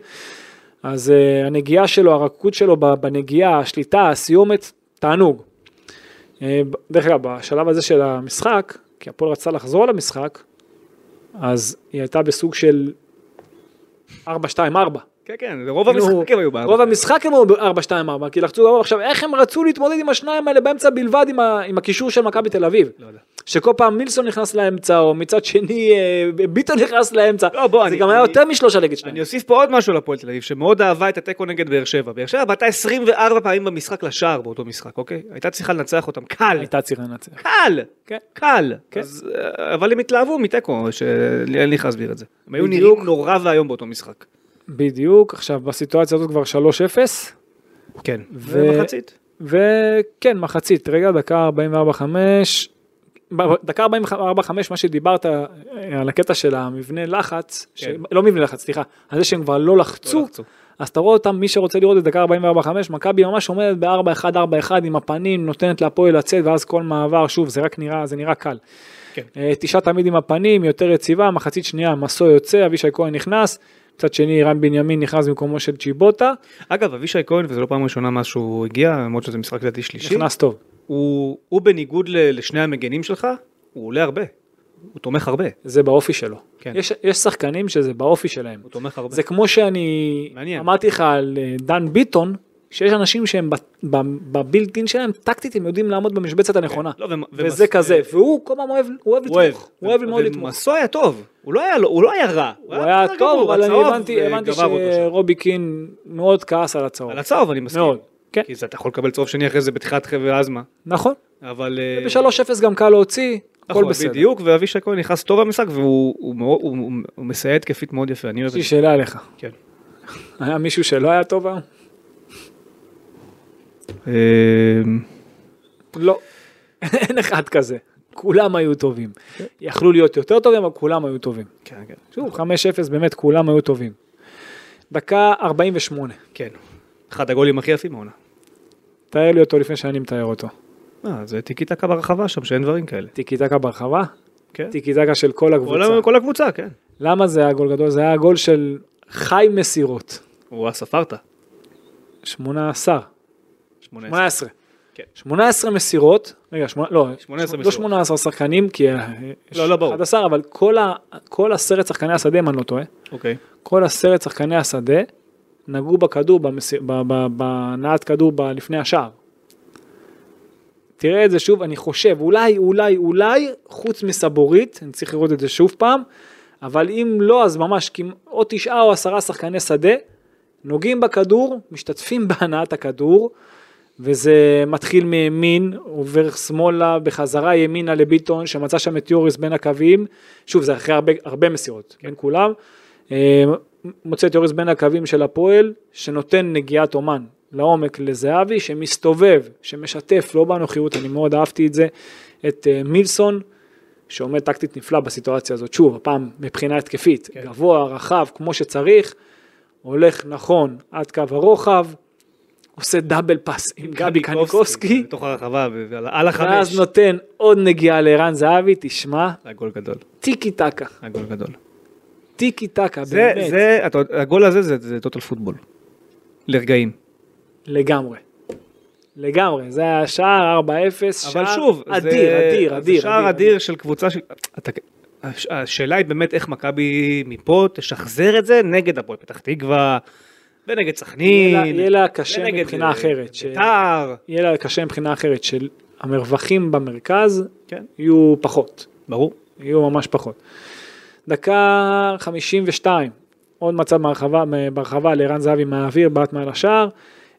Speaker 3: אז uh, הנגיעה שלו, הרכות שלו ב- בנגיעה, השליטה, הסיומת, תענוג. Uh, דרך אגב, בשלב הזה של המשחק, כי הפועל רצה לחזור למשחק, אז היא הייתה בסוג של 4-2-4.
Speaker 2: כן, כן, רוב המשחקים היו בארבע.
Speaker 3: כאילו, רוב המשחק הם היו ב-4-2-4, כי לחצו גם עכשיו, איך הם רצו להתמודד עם השניים האלה באמצע בלבד עם ה- עם הקישור של מכבי תל אביב?
Speaker 2: לא יודע.
Speaker 3: שכל פעם מילסון נכנס לאמצע, או מצד שני אה, ביטון נכנס לאמצע.
Speaker 2: לא, בוא,
Speaker 3: זה
Speaker 2: אני-
Speaker 3: גם היה
Speaker 2: אני-
Speaker 3: יותר משלושה נגד שניים.
Speaker 2: אני אוסיף פה עוד משהו לפועל תל אביב, שמאוד אהבה את התיקו נגד באר שבע. באר שבע בעטה 24 פעמים במשחק לשער באותו משחק, אוקיי? הייתה צריכה לנצח אותם קל,
Speaker 3: הייתה צריכה לנצח.
Speaker 2: קל,
Speaker 3: כן.
Speaker 2: קל.
Speaker 3: כן.
Speaker 2: אז, אה, אבל הם התלהבו מתיקו, שאין לי איך להסביר את זה. הם היו
Speaker 3: בדיוק.
Speaker 2: נראים נורא ואיום באותו משחק.
Speaker 3: בדיוק, עכשיו בסיטואציה הזאת כבר 3-0,
Speaker 2: כן.
Speaker 3: ו-
Speaker 2: ומחצית.
Speaker 3: וכן, מחצית, רגע, דקה 44-5, דקה 44-5, מה שדיברת אה, על הקטע של המבנה לחץ, ש...
Speaker 2: כן.
Speaker 3: לא מבנה לחץ, סליחה, על זה שהם כבר לא לחצו,
Speaker 2: לא לחצו.
Speaker 3: אז אתה רואה אותם, מי שרוצה לראות את דקה 44-5, מכבי ממש עומדת ב-4-1-4-1 עם הפנים, נותנת להפועל לצאת, ואז כל מעבר, שוב, זה רק נראה, זה נראה קל.
Speaker 2: כן.
Speaker 3: אה, תשעה תמיד עם הפנים, יותר יציבה, מחצית שנייה, מסו יוצא, אבישי כהן נכנס, מצד שני, רן בנימין נכנס במקומו של צ'יבוטה,
Speaker 2: אגב, אבישי כהן, וזו לא פעם ראשונה מאז שהוא הגיע, למרות שזה משחק לדעתי שלישי,
Speaker 3: נכנס טוב.
Speaker 2: הוא, הוא בניגוד ל, לשני המגנים שלך, הוא עולה הרבה. הוא תומך הרבה.
Speaker 3: זה באופי שלו.
Speaker 2: כן.
Speaker 3: יש, יש שחקנים שזה באופי שלהם.
Speaker 2: הוא תומך הרבה.
Speaker 3: זה כמו שאני
Speaker 2: מעניין.
Speaker 3: אמרתי לך על אה, דן ביטון, שיש אנשים שהם ב- ב- בבילט אין שלהם, טקטית הם יודעים לעמוד במשבצת הנכונה.
Speaker 2: לא, ומ-
Speaker 3: וזה
Speaker 2: ומס-
Speaker 3: כזה, והוא כל פעם אוהב, הוא אוהב לתמוך, הוא אוהב מאוד לתמוך.
Speaker 2: ומסו היה טוב, הוא לא היה, לו- הוא לא היה רע.
Speaker 3: הוא היה
Speaker 2: בסדר
Speaker 3: טוב,
Speaker 2: גמור,
Speaker 3: אבל אני
Speaker 2: הצהוב,
Speaker 3: הבנתי,
Speaker 2: אה,
Speaker 3: הבנתי
Speaker 2: גמר אותו שם.
Speaker 3: שרובי קין מאוד כעס על הצהוב.
Speaker 2: על הצהוב אני מסכים.
Speaker 3: מאוד, כן,
Speaker 2: כי זה, אתה יכול לקבל צהוב שני אחרי זה בתחילת חבר אז מה.
Speaker 3: נכון.
Speaker 2: אבל... אה,
Speaker 3: ב-3-0 גם קל להוציא, הכל
Speaker 2: נכון,
Speaker 3: בסדר.
Speaker 2: בדיוק, ואבישי כהן נכנס טוב למשחק והוא הוא מאוד- הוא- הוא- הוא מסייע התקפית מאוד יפה, אני אוהב
Speaker 3: יש
Speaker 2: את
Speaker 3: לי
Speaker 2: זה.
Speaker 3: שאלה אליך.
Speaker 2: כן.
Speaker 3: היה מישהו שלא היה טוב היום?
Speaker 2: אה,
Speaker 3: לא. אין אחד כזה. כולם היו טובים. יכלו להיות יותר טובים, אבל כולם היו טובים.
Speaker 2: כן, כן.
Speaker 3: שוב, 5-0 באמת כולם היו טובים. דקה 48.
Speaker 2: כן. אחד הגולים הכי יפים העונה.
Speaker 3: תאר לי אותו לפני שאני מתאר אותו.
Speaker 2: אה, זה טיקי טקה ברחבה שם, שאין דברים כאלה.
Speaker 3: טיקי טקה ברחבה?
Speaker 2: כן.
Speaker 3: טיקי טקה של כל
Speaker 2: כל
Speaker 3: הקבוצה.
Speaker 2: ה- כל הקבוצה, כן.
Speaker 3: למה זה היה גול גדול? זה היה גול של חי מסירות.
Speaker 2: וואה, ספרת.
Speaker 3: 18.
Speaker 2: 18.
Speaker 3: 18.
Speaker 2: כן.
Speaker 3: 18 מסירות, רגע, שמונה, לא,
Speaker 2: 18
Speaker 3: לא
Speaker 2: מסירות.
Speaker 3: 18 שחקנים, כי אה, יש
Speaker 2: לא, לא ברור.
Speaker 3: 11, אבל כל, ה, כל עשרת שחקני השדה, אם אני לא טועה,
Speaker 2: אוקיי.
Speaker 3: כל עשרת שחקני השדה נגעו בכדור, במסיר- ב- ב- בהנעת כדור ב- לפני השער. תראה את זה שוב, אני חושב, אולי, אולי, אולי, חוץ מסבורית, אני צריך לראות את זה שוב פעם, אבל אם לא, אז ממש, כמעט- או תשעה או עשרה שחקני שדה, נוגעים בכדור, משתתפים בהנעת הכדור, וזה מתחיל מימין, עובר שמאלה, בחזרה ימינה לביטון, שמצא שם את יוריס בין הקווים, שוב, זה אחרי הרבה, הרבה מסירות, בין כולם, אה, מוצא את יוריס בין הקווים של הפועל, שנותן נגיעת אומן לעומק לזהבי, שמסתובב, שמשתף, לא בנוחיות, אני מאוד אהבתי את זה, את אה, מילסון, שעומד טקטית נפלא בסיטואציה הזאת, שוב, הפעם מבחינה התקפית, כן. גבוה, רחב, כמו שצריך, הולך נכון עד קו הרוחב, עושה דאבל פאס עם גבי קניקובסקי,
Speaker 2: כן, בתוך הרחבה, ו- ועל- על החמש.
Speaker 3: ואז נותן עוד נגיעה לערן זהבי, תשמע,
Speaker 2: היה גול גדול,
Speaker 3: טיקי טקה,
Speaker 2: היה גול גדול.
Speaker 3: טיקי טקה,
Speaker 2: זה,
Speaker 3: באמת,
Speaker 2: זה, אתה- הגול הזה זה- זה טוטל פוטבול. לרגעים.
Speaker 3: לגמרי. לגמרי, זה היה שער 4-0,
Speaker 2: אבל
Speaker 3: שער
Speaker 2: שוב, זה-
Speaker 3: אדיר, אדיר, אדיר,
Speaker 2: זה שער אדיר של קבוצה ש... אתה- הש- השאלה היא באמת איך מכבי מפה תשחזר את זה נגד הפועל פתח תקווה ונגד סכנין.
Speaker 3: יהיה לה- יהיה לה קשה
Speaker 2: ונגד,
Speaker 3: מבחינה
Speaker 2: אה,
Speaker 3: אחרת, ש-
Speaker 2: בית"ר.
Speaker 3: יהיה לה קשה מבחינה אחרת, של המרווחים במרכז
Speaker 2: כן,
Speaker 3: יהיו פחות.
Speaker 2: ברור.
Speaker 3: יהיו ממש פחות. דקה 52, עוד מצב מהרחבה, ברחבה לערן זהבי מהאוויר, בעט מעל השער.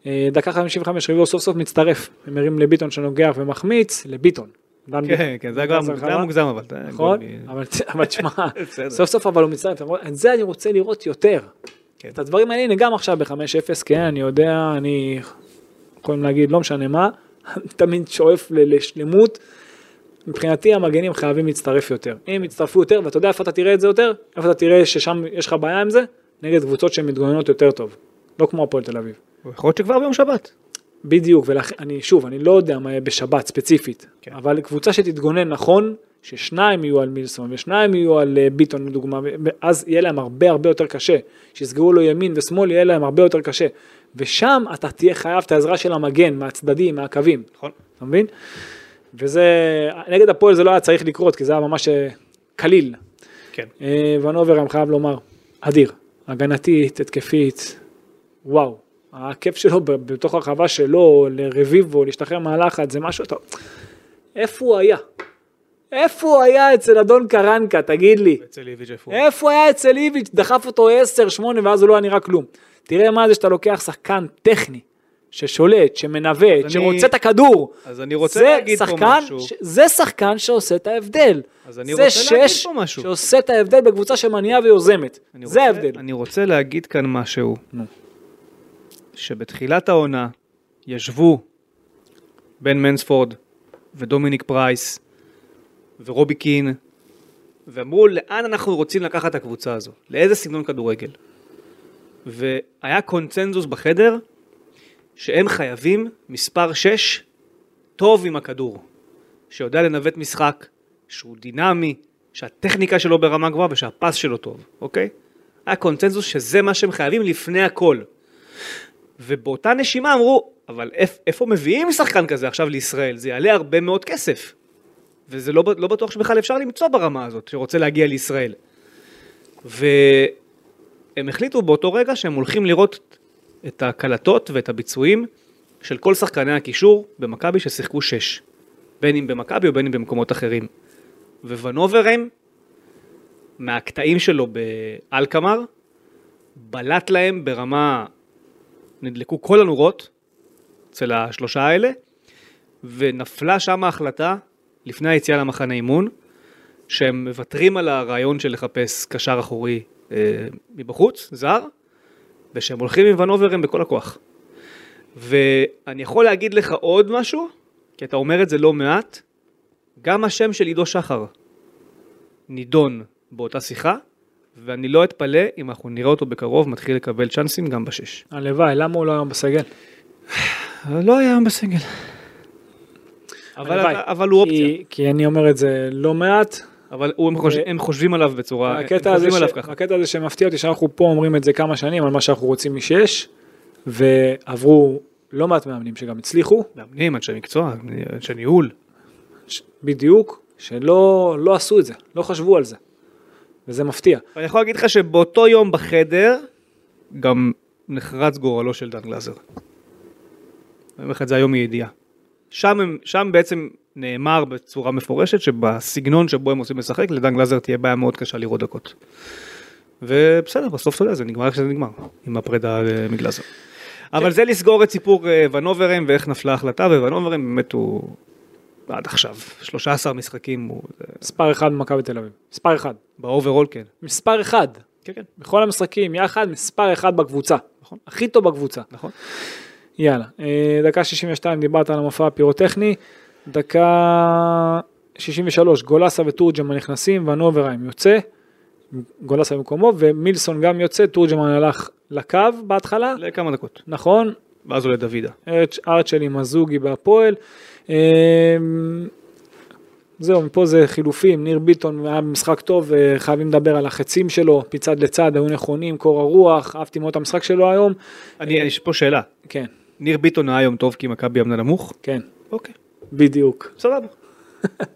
Speaker 3: אה, דקה 55, ריבו סוף סוף מצטרף, מרים לביטון שנוגח ומחמיץ, לביטון. דן ביטון.
Speaker 2: כן, כן, זה היה גם- זה היה מוגזם אבל. זה היה
Speaker 3: נכון,
Speaker 2: גול מ-
Speaker 3: אבל- אבל תשמע,
Speaker 2: בסדר.
Speaker 3: סוף סוף אבל הוא מצטרף, אתה אומר, את זה אני רוצה לראות יותר.
Speaker 2: כן.
Speaker 3: את הדברים האלה, הנה גם עכשיו ב-5-0, כן, אני יודע, אני, יכולים להגיד, לא משנה מה, תמיד שואף ל- לשלמות. מבחינתי המגנים חייבים להצטרף יותר. אם יצטרפו יותר, ואתה יודע איפה אתה תראה את זה יותר? איפה אתה תראה ששם יש לך בעיה עם זה? נגד קבוצות שמתגוננות יותר טוב. לא כמו הפועל תל אביב.
Speaker 2: יכול להיות שכבר ביום שבת.
Speaker 3: בדיוק, ואני שוב, אני לא יודע מה יהיה בשבת ספציפית, כן. אבל קבוצה שתתגונן נכון, ששניים יהיו על מילסון ושניים יהיו על אה, ביטון לדוגמה, ו- אז יהיה להם הרבה הרבה יותר קשה, שיסגרו לו ימין ושמאל יהיה להם הרבה יותר קשה, ושם אתה תהיה חייב את העזרה של המגן, מהצדדים, מהקווים,
Speaker 2: נכון.
Speaker 3: אתה מבין? וזה, נגד הפועל זה לא היה צריך לקרות, כי זה היה ממש אה, קליל.
Speaker 2: כן.
Speaker 3: אה, ונובר, אני חייב לומר, אדיר. הגנתית, התקפית, וואו. הכיף שלו ב- בתוך הרחבה שלו, לרביבו, להשתחרר מהלחץ, זה משהו טוב. איפה הוא היה? איפה הוא היה אצל אדון קרנקה, תגיד לי?
Speaker 2: אצל איביץ' איפה הוא?
Speaker 3: איפה הוא היה אצל איביץ'? דחף אותו 10-8 ואז הוא לא היה נראה כלום. תראה מה זה שאתה לוקח שחקן טכני, ששולט, שמנווט,
Speaker 2: אז
Speaker 3: שרוצה
Speaker 2: אני-
Speaker 3: את הכדור.
Speaker 2: אז אני רוצה
Speaker 3: זה
Speaker 2: להגיד פה
Speaker 3: שחקן
Speaker 2: משהו.
Speaker 3: ש- זה שחקן שעושה את ההבדל.
Speaker 2: אז אני
Speaker 3: זה
Speaker 2: רוצה להגיד
Speaker 3: שש
Speaker 2: פה משהו.
Speaker 3: שעושה את ההבדל בקבוצה שמניעה ויוזמת.
Speaker 2: אני
Speaker 3: זה
Speaker 2: רוצה-
Speaker 3: ההבדל.
Speaker 2: אני רוצה להגיד כאן משהו.
Speaker 3: נו.
Speaker 2: שבתחילת העונה ישבו בן מנספורד ודומיניק פרייס ורובי קין, ואמרו לאן אנחנו רוצים לקחת את הקבוצה הזו, לאיזה סגנון כדורגל. והיה קונצנזוס בחדר שהם חייבים מספר 6 טוב עם הכדור, שיודע לנווט משחק, שהוא דינמי, שהטכניקה שלו ברמה גבוהה ושהפס שלו טוב, אוקיי? היה קונצנזוס שזה מה שהם חייבים לפני הכל. ובאותה נשימה אמרו, אבל איפ, איפה מביאים שחקן כזה עכשיו לישראל? זה יעלה הרבה מאוד כסף. וזה לא, לא בטוח שבכלל אפשר למצוא ברמה הזאת, שרוצה להגיע לישראל. והם החליטו באותו רגע שהם הולכים לראות את הקלטות ואת הביצועים של כל שחקני הקישור במכבי ששיחקו שש. בין אם במכבי או בין אם במקומות אחרים. וונוברם, מהקטעים שלו באלקמר, בלט להם ברמה, נדלקו כל הנורות אצל השלושה האלה, ונפלה שם ההחלטה, לפני היציאה למחנה אימון, שהם מוותרים על הרעיון של לחפש קשר אחורי אה, מבחוץ, זר, ושהם הולכים עם ונוברם בכל הכוח. ואני יכול להגיד לך עוד משהו, כי אתה אומר את זה לא מעט, גם השם של עידו שחר נידון באותה שיחה, ואני לא אתפלא אם אנחנו נראה אותו בקרוב מתחיל לקבל צ'אנסים גם בשש.
Speaker 3: הלוואי, למה הוא לא היום בסגל?
Speaker 2: לא היה בסגל. אבל,
Speaker 3: הלוואי.
Speaker 2: אבל הוא אופציה.
Speaker 3: כי- כי אני אומר את זה לא מעט.
Speaker 2: אבל הוא, הם, חוש... הם חושבים עליו בצורה, הם
Speaker 3: הקטע הזה,
Speaker 2: חושבים אה, עליו
Speaker 3: ש...
Speaker 2: ככה.
Speaker 3: הקטע הזה שמפתיע אותי שאנחנו פה אומרים את זה כמה שנים על מה שאנחנו רוצים משש, ועברו לא מעט מאמנים שגם הצליחו,
Speaker 2: מאמנים, אנשי מקצוע, אנשי ניהול.
Speaker 3: ש... בדיוק, שלא לא עשו את זה, לא חשבו על זה. וזה מפתיע.
Speaker 2: ואני יכול להגיד לך שבאותו יום בחדר, גם נחרץ גורלו של דן גלאזר. אני אומר לך את זה היום מידיעה. שם, הם- שם בעצם נאמר בצורה מפורשת שבסגנון שבו הם רוצים לשחק, לדן גלאזר תהיה בעיה מאוד קשה לראות דקות. ובסדר, בסוף אתה יודע, זה נגמר איך שזה נגמר, עם הפרידה אה, מגלאזר. אבל זה לסגור את סיפור אה, ונוברם ואיך נפלה ההחלטה, וונוברם באמת הוא עד עכשיו, 13 משחקים, הוא אה,
Speaker 3: מספר אחד במכבי תל אביב. מספר אחד.
Speaker 2: באוברול כן.
Speaker 3: מספר אחד.
Speaker 2: כן, כן,
Speaker 3: בכל המשחקים יחד, מספר אחד בקבוצה.
Speaker 2: נכון.
Speaker 3: הכי טוב בקבוצה.
Speaker 2: נכון.
Speaker 3: יאללה, אה, דקה 62 דיברת על המופע הפירוטכני, דקה 63 גולסה ותורג'מן נכנסים ונוברהיים יוצא, גולסה במקומו ומילסון גם יוצא, תורג'מן הלך לקו בהתחלה,
Speaker 2: לכמה דקות.
Speaker 3: נכון,
Speaker 2: ואז עולה דוידה.
Speaker 3: ארץ'- ארצ'ל עם הזוגי בהפועל. אה, זהו, מפה זה חילופים, ניר ביטון היה במשחק טוב, אה, חייבים לדבר על החצים שלו, מצד לצד, היו נכונים, קור הרוח, אהבתי מאוד את המשחק שלו היום.
Speaker 2: אני, יש פה שאלה.
Speaker 3: כן,
Speaker 2: ניר ביטון היה יום טוב כי מכבי עמדה נמוך?
Speaker 3: כן,
Speaker 2: אוקיי,
Speaker 3: בדיוק.
Speaker 2: סבבה.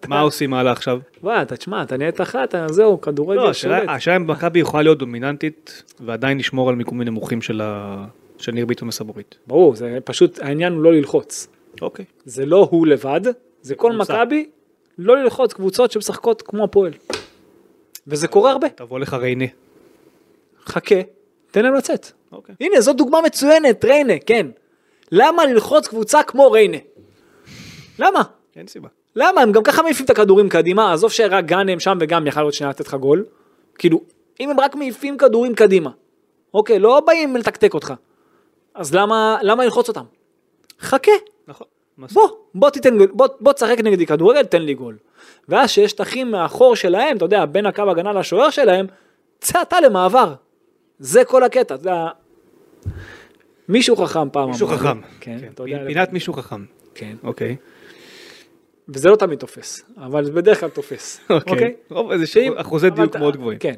Speaker 2: מה עושים הלאה עכשיו?
Speaker 3: וואי, אתה תשמע, אתה נהיית אחת, אה, זהו, כדורגל
Speaker 2: לא,
Speaker 3: שולט.
Speaker 2: השאלה השאלה אם מכבי יכולה להיות דומיננטית ועדיין לשמור על מיקומים נמוכים של ה- של ניר ביטון וסבורית.
Speaker 3: ברור, זה פשוט, העניין הוא לא ללחוץ.
Speaker 2: אוקיי.
Speaker 3: זה לא הוא לבד, זה כל
Speaker 2: קבוצה.
Speaker 3: מכבי, לא ללחוץ קבוצות שמשחקות כמו הפועל. וזה קורה הרבה.
Speaker 2: תבוא לך ריינה.
Speaker 3: חכה, תן להם לצאת.
Speaker 2: אוקיי.
Speaker 3: כן. הנה, זו דוגמה מצוינת, ריינה, כן. למה ללחוץ קבוצה כמו ריינה? למה?
Speaker 2: אין סיבה.
Speaker 3: למה? הם גם ככה מעיפים את הכדורים קדימה, עזוב שרק גאנם שם וגם יכל להיות שנייה לתת לך גול. כאילו, אם הם רק מעיפים כדורים קדימה, אוקיי, לא באים לתקתק אותך. אז למה, למה ללחוץ אותם? חכה,
Speaker 2: נכון. מה
Speaker 3: בוא, בוא תיתן, גול, בוא, בוא תשחק נגדי כדורגל, תן לי גול. ואז שיש שטחים מאחור שלהם, אתה יודע, בין הקו הגנה לשוער שלהם, צא אתה למעבר. זה כל הקטע, אתה יודע... מישהו חכם פעם אמר.
Speaker 2: מישהו חכם.
Speaker 3: כן,
Speaker 2: כן.
Speaker 3: אתה יודע.
Speaker 2: פינת מישהו חכם.
Speaker 3: כן.
Speaker 2: אוקיי.
Speaker 3: וזה לא תמיד תופס, אבל זה בדרך כלל תופס.
Speaker 2: אוקיי. רוב איזה
Speaker 3: שאם-
Speaker 2: שיעור- אחוזי
Speaker 3: אבל
Speaker 2: דיוק
Speaker 3: אתה-
Speaker 2: מאוד גבוהים.
Speaker 3: כן.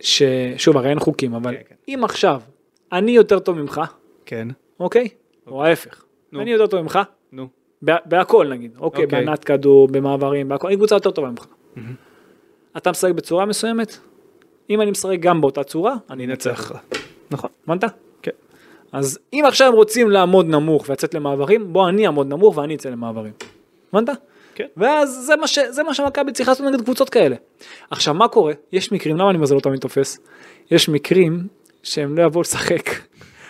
Speaker 3: ששוב, הרי אין חוקים, אבל
Speaker 2: כן, כן.
Speaker 3: אם עכשיו אני יותר טוב ממך,
Speaker 2: כן.
Speaker 3: אוקיי? או ההפך.
Speaker 2: נו.
Speaker 3: אני יותר טוב ממך,
Speaker 2: נו.
Speaker 3: בה- בהכל נגיד, אוקיי,
Speaker 2: אוקיי.
Speaker 3: בענת כדור, במעברים, בהכל, אני קבוצה יותר טובה ממך. אתה משחק בצורה מסוימת? אם אני משחק גם באותה צורה, אני
Speaker 2: אני אנצח לך. נכון.
Speaker 3: הבנת?
Speaker 2: כן.
Speaker 3: אז אם עכשיו הם רוצים לעמוד נמוך ולצאת למעברים, בוא אני אעמוד נמוך ואני אצא למעברים. הבנת?
Speaker 2: כן.
Speaker 3: ואז זה מה, ש... זה מה שמכבי צריכה לעשות נגד קבוצות כאלה. עכשיו מה קורה? יש מקרים, למה אני אומר זה לא תמיד תופס? יש מקרים שהם לא יבואו לשחק.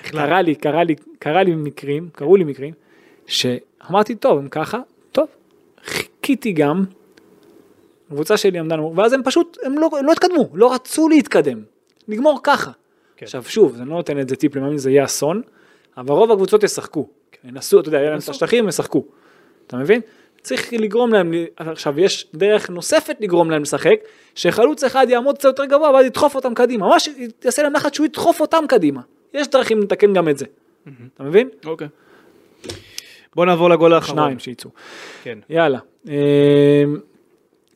Speaker 3: קרה לי, קרה לי, קרה לי מקרים, קרו לי מקרים, שאמרתי טוב הם ככה, טוב. חיכיתי גם, הקבוצה שלי עמדה נמוך, ואז הם פשוט, הם לא, הם לא התקדמו, לא רצו להתקדם, נגמור ככה. כן. עכשיו שוב, אני לא נותן את זה טיפ למאמין, זה יהיה אסון, אבל רוב הקבוצות ישחקו, ינסו, אתה יודע, יהיה להם את השטחים, ישחקו. אתה מבין? צריך לגרום להם, ל- עכשיו יש דרך נוספת לגרום להם לשחק, שחלוץ אחד יעמוד קצת יותר גבוה ואז ידחוף אותם קדימה, ממש יעשה להם לחץ שהוא ידחוף אותם קדימה. יש דרכים לתקן גם את זה, אתה מבין?
Speaker 2: אוקיי. בוא נעבור לגול האחרון.
Speaker 3: שניים שייצאו.
Speaker 2: כן.
Speaker 3: יאללה. אה,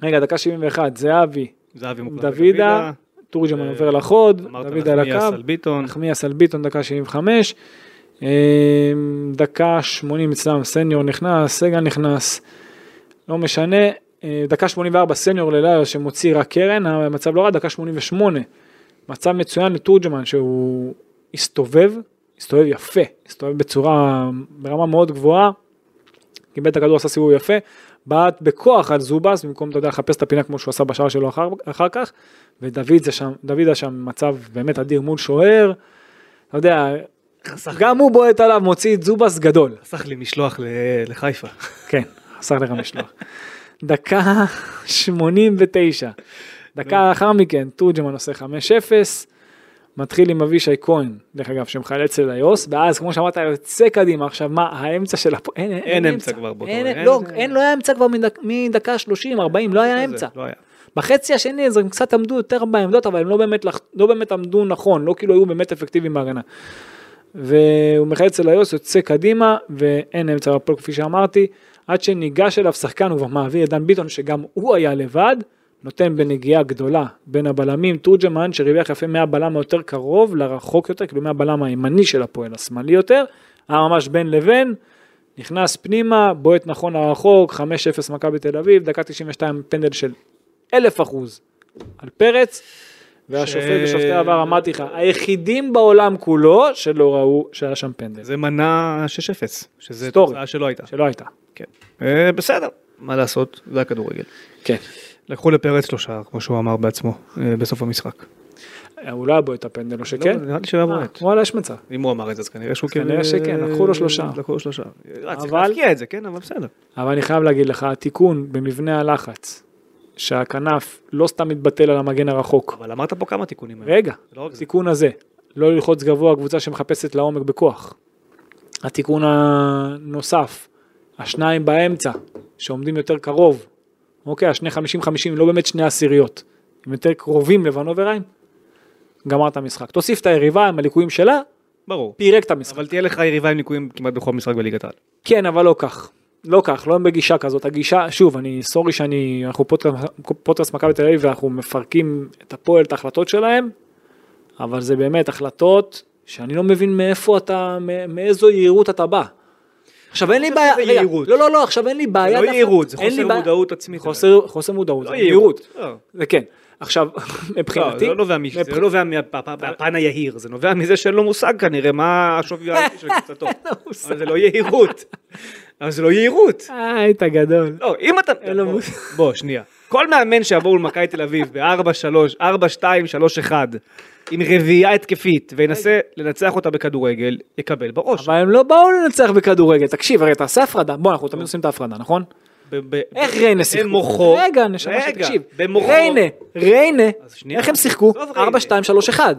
Speaker 3: רגע, דקה 71, זהבי,
Speaker 2: זהבי מוחלט.
Speaker 3: דוידה, תורג'מן עובר לחוד,
Speaker 2: אמרת
Speaker 3: דוידה על
Speaker 2: נחמיאס
Speaker 3: הקו,
Speaker 2: על ביטון.
Speaker 3: נחמיאס על ביטון, דקה 75, אה, דקה 80 אצלם, סניור נכנס, סגל נכנס, לא משנה, אה, דקה 84, סניור ללילה שמוציא רק קרן, המצב לא רע, דקה 88, מצב מצוין לתורג'מן שהוא הסתובב, הסתובב יפה, הסתובב בצורה, ברמה מאוד גבוהה, קיבל את הכדור, עשה סיבוב יפה, בעט בכוח על זובס, במקום, אתה יודע, לחפש את הפינה כמו שהוא עשה בשער שלו אחר, אחר כך, ודוד זה שם, דוד היה שם מצב באמת אדיר מול שוער, אתה יודע, גם הוא בועט עליו, מוציא את זובס גדול.
Speaker 2: חסך לי משלוח ל- לחיפה.
Speaker 3: כן, חסר לך משלוח. דקה 89. דקה לאחר מכן, תורג'מן עושה 5-0, מתחיל עם אבישי כהן, דרך אגב, שמחלל אצל איוס, ואז כמו שאמרת, יוצא קדימה, עכשיו מה, האמצע של הפועל, אין, אין,
Speaker 2: אין אמצע כבר באותו
Speaker 3: אין,
Speaker 2: רגע.
Speaker 3: לא,
Speaker 2: אין-
Speaker 3: אין, לא היה אמצע כבר מדק, מדקה 30, 40, לא היה
Speaker 2: זה,
Speaker 3: אמצע.
Speaker 2: לא היה.
Speaker 3: בחצי השני אז הם קצת עמדו יותר בעמדות, אבל הם לא באמת, לח- לא באמת עמדו נכון, לא כאילו היו באמת אפקטיביים בהגנה. והוא מחלץ אצל היוס, יוצא קדימה, ואין אמצע בפועל כפי שאמרתי, עד שניגש אליו שחקן, הוא כבר מעביר את דן ביטון, שגם הוא היה לבד, נותן בנגיעה גדולה בין הבלמים, תורג'מן שריווח יפה מהבלם היותר קרוב לרחוק יותר, כאילו מהבלם הימני של הפועל, השמאלי יותר, היה ממש בין לבין, נכנס פנימה, בועט נכון לרחוק, 5-0 מכבי תל אביב, דקה 92 פנדל של אלף אחוז על פרץ, והשופט
Speaker 2: ש-
Speaker 3: ושופטי העבר אמרתי לך, היחידים בעולם כולו שלא ראו שהיה שם פנדל,
Speaker 2: זה מנה 6-0, שזה
Speaker 3: סטורי.
Speaker 2: תוצאה שלא הייתה.
Speaker 3: שלא הייתה.
Speaker 2: כן. אה, בסדר, מה לעשות, זה הכדורגל.
Speaker 3: כן.
Speaker 2: לקחו לפרץ שלושה, כמו שהוא אמר בעצמו, אה, בסוף המשחק.
Speaker 3: הוא לא היה בועט את הפנדל, או שכן?
Speaker 2: לא, נראה לי שהוא היה בועט.
Speaker 3: אה, וואלה, יש מצב.
Speaker 2: אם הוא אמר את זה, אז כנראה שהוא כאילו, אה,
Speaker 3: כנראה שכן, לקחו לו שלושה.
Speaker 2: לקחו לו שלושה. אה, צריך
Speaker 3: אבל-
Speaker 2: להפקיע את זה, כן, אבל בסדר.
Speaker 3: אבל אני חייב להגיד לך, התיקון במבנה הלחץ, שהכנף לא סתם מתבטל על המגן הרחוק.
Speaker 2: אבל אמרת פה כמה תיקונים. היום.
Speaker 3: רגע,
Speaker 2: זה לא רק זה.
Speaker 3: התיקון הזה, לא ללחוץ גבוה קבוצה שמחפשת לעומק בכוח. התיקון הנוסף, השניים באמצע, שעומדים יותר קרוב, אוקיי, השני 50-50, לא באמת שני עשיריות, הם יותר קרובים לבן אוברהיים, גמר את המשחק. תוסיף את היריבה עם הליקויים שלה,
Speaker 2: ברור.
Speaker 3: פירק את המשחק.
Speaker 2: אבל תהיה לך יריבה עם ליקויים כמעט בכל משחק בליגת העל.
Speaker 3: כן, אבל לא כך. לא כך, לא בגישה כזאת. הגישה, שוב, אני, סורי שאני, אנחנו פודקאסט פודקאסט מכבי תל אביב ואנחנו מפרקים את הפועל, את ההחלטות שלהם, אבל זה באמת החלטות שאני לא מבין מאיפה אתה, מא- מאיזו יהירות אתה בא. עכשיו אין לי
Speaker 2: חושב
Speaker 3: בעיה,
Speaker 2: שזה
Speaker 3: רגע,
Speaker 2: יהירות.
Speaker 3: לא, לא, לא, עכשיו אין לי בעיה.
Speaker 2: לא
Speaker 3: דווקא-
Speaker 2: יהירות, זה
Speaker 3: אין לי
Speaker 2: חוסר
Speaker 3: בעיה-
Speaker 2: מודעות עצמית.
Speaker 3: חוסר- חוסר מודעות, זה
Speaker 2: לא
Speaker 3: יהירות.
Speaker 2: לא.
Speaker 3: זה כן. עכשיו,
Speaker 2: לא,
Speaker 3: מבחינתי,
Speaker 2: זה לא נובע מש- זה
Speaker 3: מבח-
Speaker 2: לא נובע מהפ- מהפן היהיר, זה נובע מזה שאין לו מושג כנראה מה השווי האמיתי של קבוצתו. אבל זה לא יהירות. אבל זה לא יהירות.
Speaker 3: אה, היית גדול.
Speaker 2: לא, אם אתה...
Speaker 3: אין לו
Speaker 2: בוא,
Speaker 3: מושג.
Speaker 2: בוא, שנייה. כל מאמן שיבואו למכבי תל אביב ב-4-3, 4-2-3-1, עם רביעייה התקפית, וינסה לנצח אותה בכדורגל, יקבל בראש.
Speaker 3: אבל הם לא באו לנצח בכדורגל, תקשיב, הרי תעשה הפרדה, בוא, אנחנו תמיד עושים את ההפרדה, נכון?
Speaker 2: ב- ב-
Speaker 3: איך ריינה שיחקו?
Speaker 2: במוחו.
Speaker 3: רגע, נשמה
Speaker 2: רגע,
Speaker 3: שתקשיב.
Speaker 2: במוחו.
Speaker 3: ריינה, ריינה,
Speaker 2: אז שנייה.
Speaker 3: איך הם שיחקו?
Speaker 2: עזוב ריינה.
Speaker 3: 4, 2, 3, 1,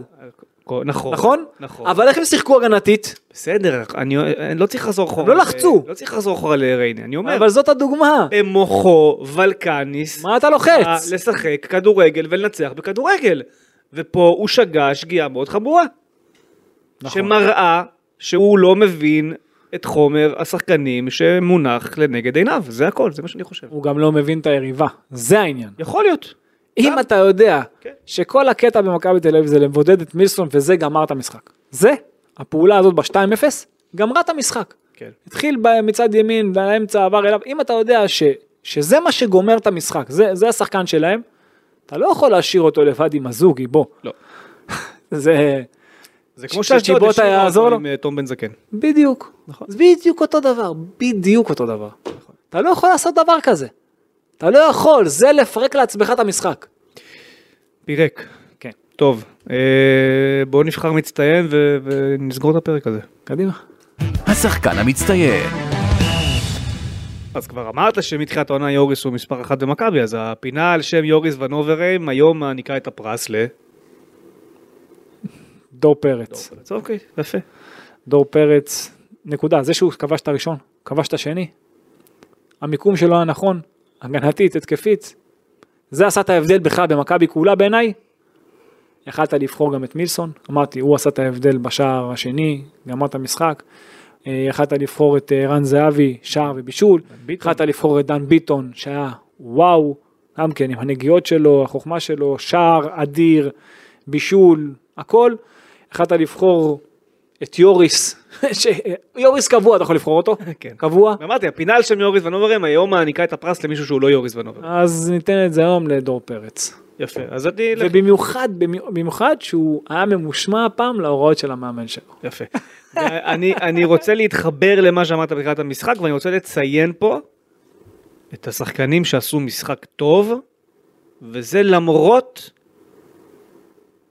Speaker 2: נכון.
Speaker 3: נכון?
Speaker 2: נכון.
Speaker 3: אבל איך הם שיחקו הגנתית?
Speaker 2: בסדר, אני אני לא צריך לחזור אחורה.
Speaker 3: לא לחצו.
Speaker 2: לא צריך לחזור אחורה לריינה, אני אומר. אה,
Speaker 3: אבל זאת הדוגמה.
Speaker 2: במוחו, ולקניס.
Speaker 3: מה אתה לוחץ?
Speaker 2: בא לשחק כדורגל ולנצח בכדורגל. ופה הוא שגה שגיאה מאוד חמורה.
Speaker 3: נכון.
Speaker 2: שמראה שהוא לא מבין את חומר השחקנים שמונח לנגד עיניו, זה הכל, זה מה שאני חושב.
Speaker 3: הוא גם לא מבין את היריבה, זה העניין.
Speaker 2: יכול להיות.
Speaker 3: אם אתה יודע
Speaker 2: כן.
Speaker 3: שכל הקטע במכבי תל אביב זה לבודד את מילסון וזה גמר את המשחק. זה, הפעולה הזאת ב-2-0, גמרה את המשחק.
Speaker 2: כן.
Speaker 3: התחיל ב- מצד ימין, לאמצע עבר אליו, אם אתה יודע ש, שזה מה שגומר את המשחק, זה, זה השחקן שלהם, אתה לא יכול להשאיר אותו לבד עם הזוגי, בוא.
Speaker 2: לא.
Speaker 3: זה
Speaker 2: זה
Speaker 3: כמו שאשדוד השאירה אותו עם,
Speaker 2: עם אה, תום בן זקן.
Speaker 3: בדיוק,
Speaker 2: נכון.
Speaker 3: זה בדיוק אותו דבר, בדיוק אותו דבר. אתה לא יכול לעשות דבר כזה. אתה לא יכול, זה לפרק לעצמך את המשחק.
Speaker 2: פירק.
Speaker 3: כן.
Speaker 2: טוב, אה, בואו נבחר מצטיין ו- ונסגור את הפרק הזה.
Speaker 3: קדימה.
Speaker 1: השחקן המצטיין.
Speaker 2: אז כבר אמרת שמתחילת העונה יוריס הוא מספר אחת במכבי, אז הפינה על שם יוריס ונוברהיים היום מעניקה את הפרס ל...
Speaker 3: דור פרץ.
Speaker 2: אז אוקיי, יפה.
Speaker 3: דור פרץ, נקודה, זה שהוא כבש את הראשון, כבש את השני, המיקום שלו היה נכון, הגנתית, התקפית. זה עשה את ההבדל בכלל במכבי כולה בעיניי. יכלת לבחור גם את מילסון, אמרתי, הוא עשה את ההבדל בשער השני, גמר את המשחק. אה, יכלת לבחור את אה, רן זהבי, שער ובישול. יכלת לבחור את דן ביטון, שהיה וואו, גם כן עם הנגיעות שלו, החוכמה שלו, שער אדיר, בישול, הכל. יכלת לבחור את יוריס, ש... יוריס קבוע אתה יכול לבחור אותו,
Speaker 2: כן.
Speaker 3: קבוע.
Speaker 2: אמרתי, הפינה על שם יוריס ונוברם היום מעניקה את הפרס למישהו שהוא לא יוריס ונוברם.
Speaker 3: אז ניתן את זה היום לדור פרץ.
Speaker 2: יפה, אז אני... לא- אלך-
Speaker 3: ובמיוחד, במי- במיוחד שהוא היה ממושמע הפעם להוראות של המאמן שלו.
Speaker 2: יפה. אני, אני רוצה להתחבר למה שאמרת בתחילת המשחק, ואני רוצה לציין פה את השחקנים שעשו משחק טוב, וזה למרות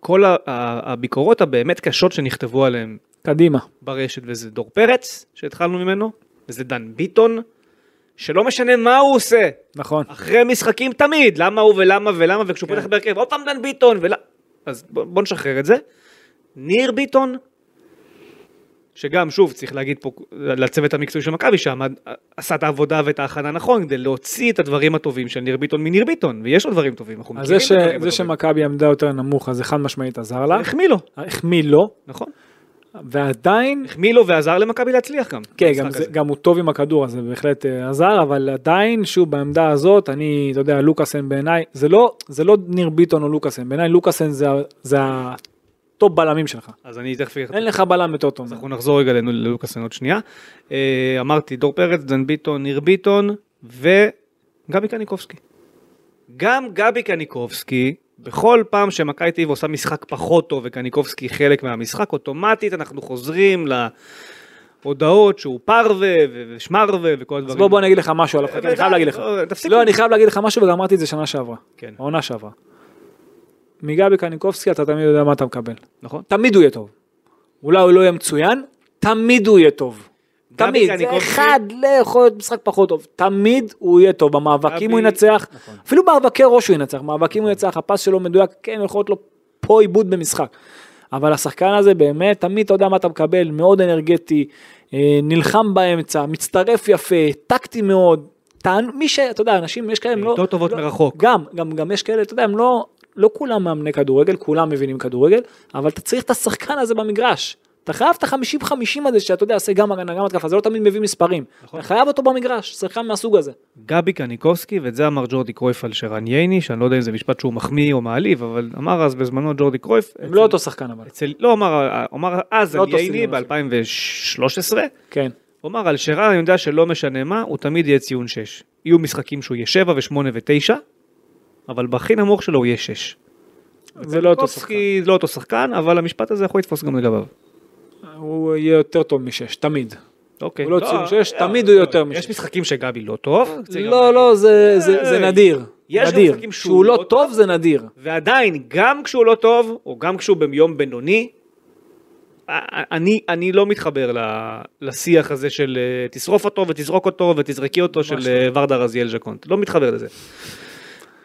Speaker 2: כל ה- ה- הביקורות הבאמת קשות שנכתבו עליהם
Speaker 3: קדימה.
Speaker 2: ברשת, וזה דור פרץ, שהתחלנו ממנו, וזה דן ביטון, שלא משנה מה הוא עושה,
Speaker 3: נכון.
Speaker 2: אחרי משחקים תמיד, למה הוא ולמה ולמה, וכשהוא
Speaker 3: כן.
Speaker 2: פותח בהרכב, עוד פעם דן ביטון, ול... אז בוא, בוא נשחרר את זה. ניר ביטון, שגם, שוב, צריך להגיד פה לצוות המקצועי של מכבי, שעמד, עשה את העבודה ואת ההכנה נכון, כדי להוציא את הדברים הטובים של ניר ביטון מניר ביטון, ויש לו דברים טובים, אנחנו
Speaker 3: אז זה,
Speaker 2: מכירים
Speaker 3: ש...
Speaker 2: את הדברים
Speaker 3: זה
Speaker 2: הטובים.
Speaker 3: שמכבי עמדה יותר נמוך, אז זה חד משמעית עזר לה.
Speaker 2: החמיא לו,
Speaker 3: החמיא לו,
Speaker 2: נכון?
Speaker 3: ועדיין,
Speaker 2: החמיא לו ועזר למכבי להצליח גם.
Speaker 3: כן,
Speaker 2: במשחק
Speaker 3: גם, זה,
Speaker 2: הזה.
Speaker 3: גם הוא טוב עם הכדור, אז זה בהחלט אה, עזר, אבל עדיין, שוב, בעמדה הזאת, אני, אתה יודע, לוקאסן בעיניי, זה לא, זה לא ניר ביטון או לוקאסן, בעיניי לוקאסן זה, ה- זה הטופ בלמים שלך.
Speaker 2: אז אני תכף...
Speaker 3: אין לך בלם יותר טוב.
Speaker 2: אז
Speaker 3: ממנו.
Speaker 2: אנחנו נחזור רגע לנו- ללוקאסן עוד שנייה. אה, אמרתי, דור פרץ, דן ביטון, ניר ביטון וגבי קניקובסקי. גם גבי קניקובסקי, בכל פעם שמכבי תל אביב עושה משחק פחות טוב וקניקובסקי חלק מהמשחק, אוטומטית אנחנו חוזרים להודעות שהוא פרווה ו- ושמרווה וכל הדברים.
Speaker 3: אז בוא, בוא אני אגיד לך משהו עליו, אני חייב להגיד לך.
Speaker 2: לא, תפסיקו.
Speaker 3: לא, אני חייב להגיד לך משהו, וגם אמרתי את זה שנה שעברה.
Speaker 2: כן.
Speaker 3: העונה שעברה. מגבי קניקובסקי, אתה תמיד יודע מה אתה מקבל.
Speaker 2: נכון.
Speaker 3: תמיד הוא יהיה טוב. אולי הוא לא יהיה מצוין, תמיד הוא יהיה טוב.
Speaker 2: גבי
Speaker 3: תמיד, זה
Speaker 2: קניקובסקי-
Speaker 3: אחד לא יכול להיות משחק פחות טוב, תמיד הוא יהיה טוב, במאבקים
Speaker 2: גבי-
Speaker 3: הוא ינצח, אפילו מאבקי ראש הוא ינצח, מאבקים הוא ינצח, הפס שלו מדויק, כן יכול להיות לו פה עיבוד במשחק. אבל השחקן הזה באמת, תמיד אתה יודע מה אתה מקבל, מאוד אנרגטי, אה, נלחם באמצע, מצטרף יפה, טקטי מאוד, טען, מי שאתה יודע, אנשים, יש כאלה, הם לא...
Speaker 2: בעיטות טובות
Speaker 3: לא-
Speaker 2: מרחוק.
Speaker 3: גם, גם, גם יש כאלה, אתה יודע, הם לא, לא כולם מאמני כדורגל, כולם מבינים כדורגל, אבל אתה צריך את השחקן הזה במגרש. אתה חייב את ה-50-50 הזה שאתה יודע, עושה גם הגנה, גם התקפה, זה לא תמיד מביא מספרים. אתה חייב אותו במגרש, שחקן מהסוג הזה.
Speaker 2: גבי קניקובסקי, ואת זה אמר ג'ורדי קרויף על שרן ייני, שאני לא יודע אם זה משפט שהוא מחמיא או מעליב, אבל אמר אז בזמנו ג'ורדי קרויף.
Speaker 3: הם לא אותו שחקן אבל.
Speaker 2: אצל, לא אמר, אמר אז
Speaker 3: לא
Speaker 2: על
Speaker 3: תוסיף
Speaker 2: ייני
Speaker 3: לו אפילו.
Speaker 2: ב-2013,
Speaker 3: כן,
Speaker 2: הוא אמר על שרן, אני יודע שלא משנה מה, הוא תמיד יהיה ציון 6. יהיו משחקים שהוא יהיה 7 ו-8 ו-9, אבל בהכי נמוך שלו הוא יהיה 6.
Speaker 3: זה לא אותו שחקן.
Speaker 2: לא אותו שחקן, אבל המשפט הזה יכול לתפוס גם לגביו.
Speaker 3: הוא יהיה יותר טוב משש, תמיד.
Speaker 2: אוקיי. אה,
Speaker 3: הוא לא ציון שש, תמיד הוא יותר משש.
Speaker 2: יש משחקים שגבי לא טוב. צריך גם
Speaker 3: לא,
Speaker 2: להגיד.
Speaker 3: לא, זה- זה זה
Speaker 2: היי.
Speaker 3: נדיר.
Speaker 2: יש גם
Speaker 3: נדיר.
Speaker 2: משחקים שהוא
Speaker 3: שהוא
Speaker 2: לא
Speaker 3: לא טוב זה נדיר.
Speaker 2: ועדיין, גם כשהוא לא טוב, או גם כשהוא ביום בינוני, אני, אני לא מתחבר ל- לשיח הזה של אה, תשרוף אותו ותזרוק אותו ותזרקי אותו של
Speaker 3: לא.
Speaker 2: אה, ורדה רזיאל ז'קונט, לא מתחבר לזה.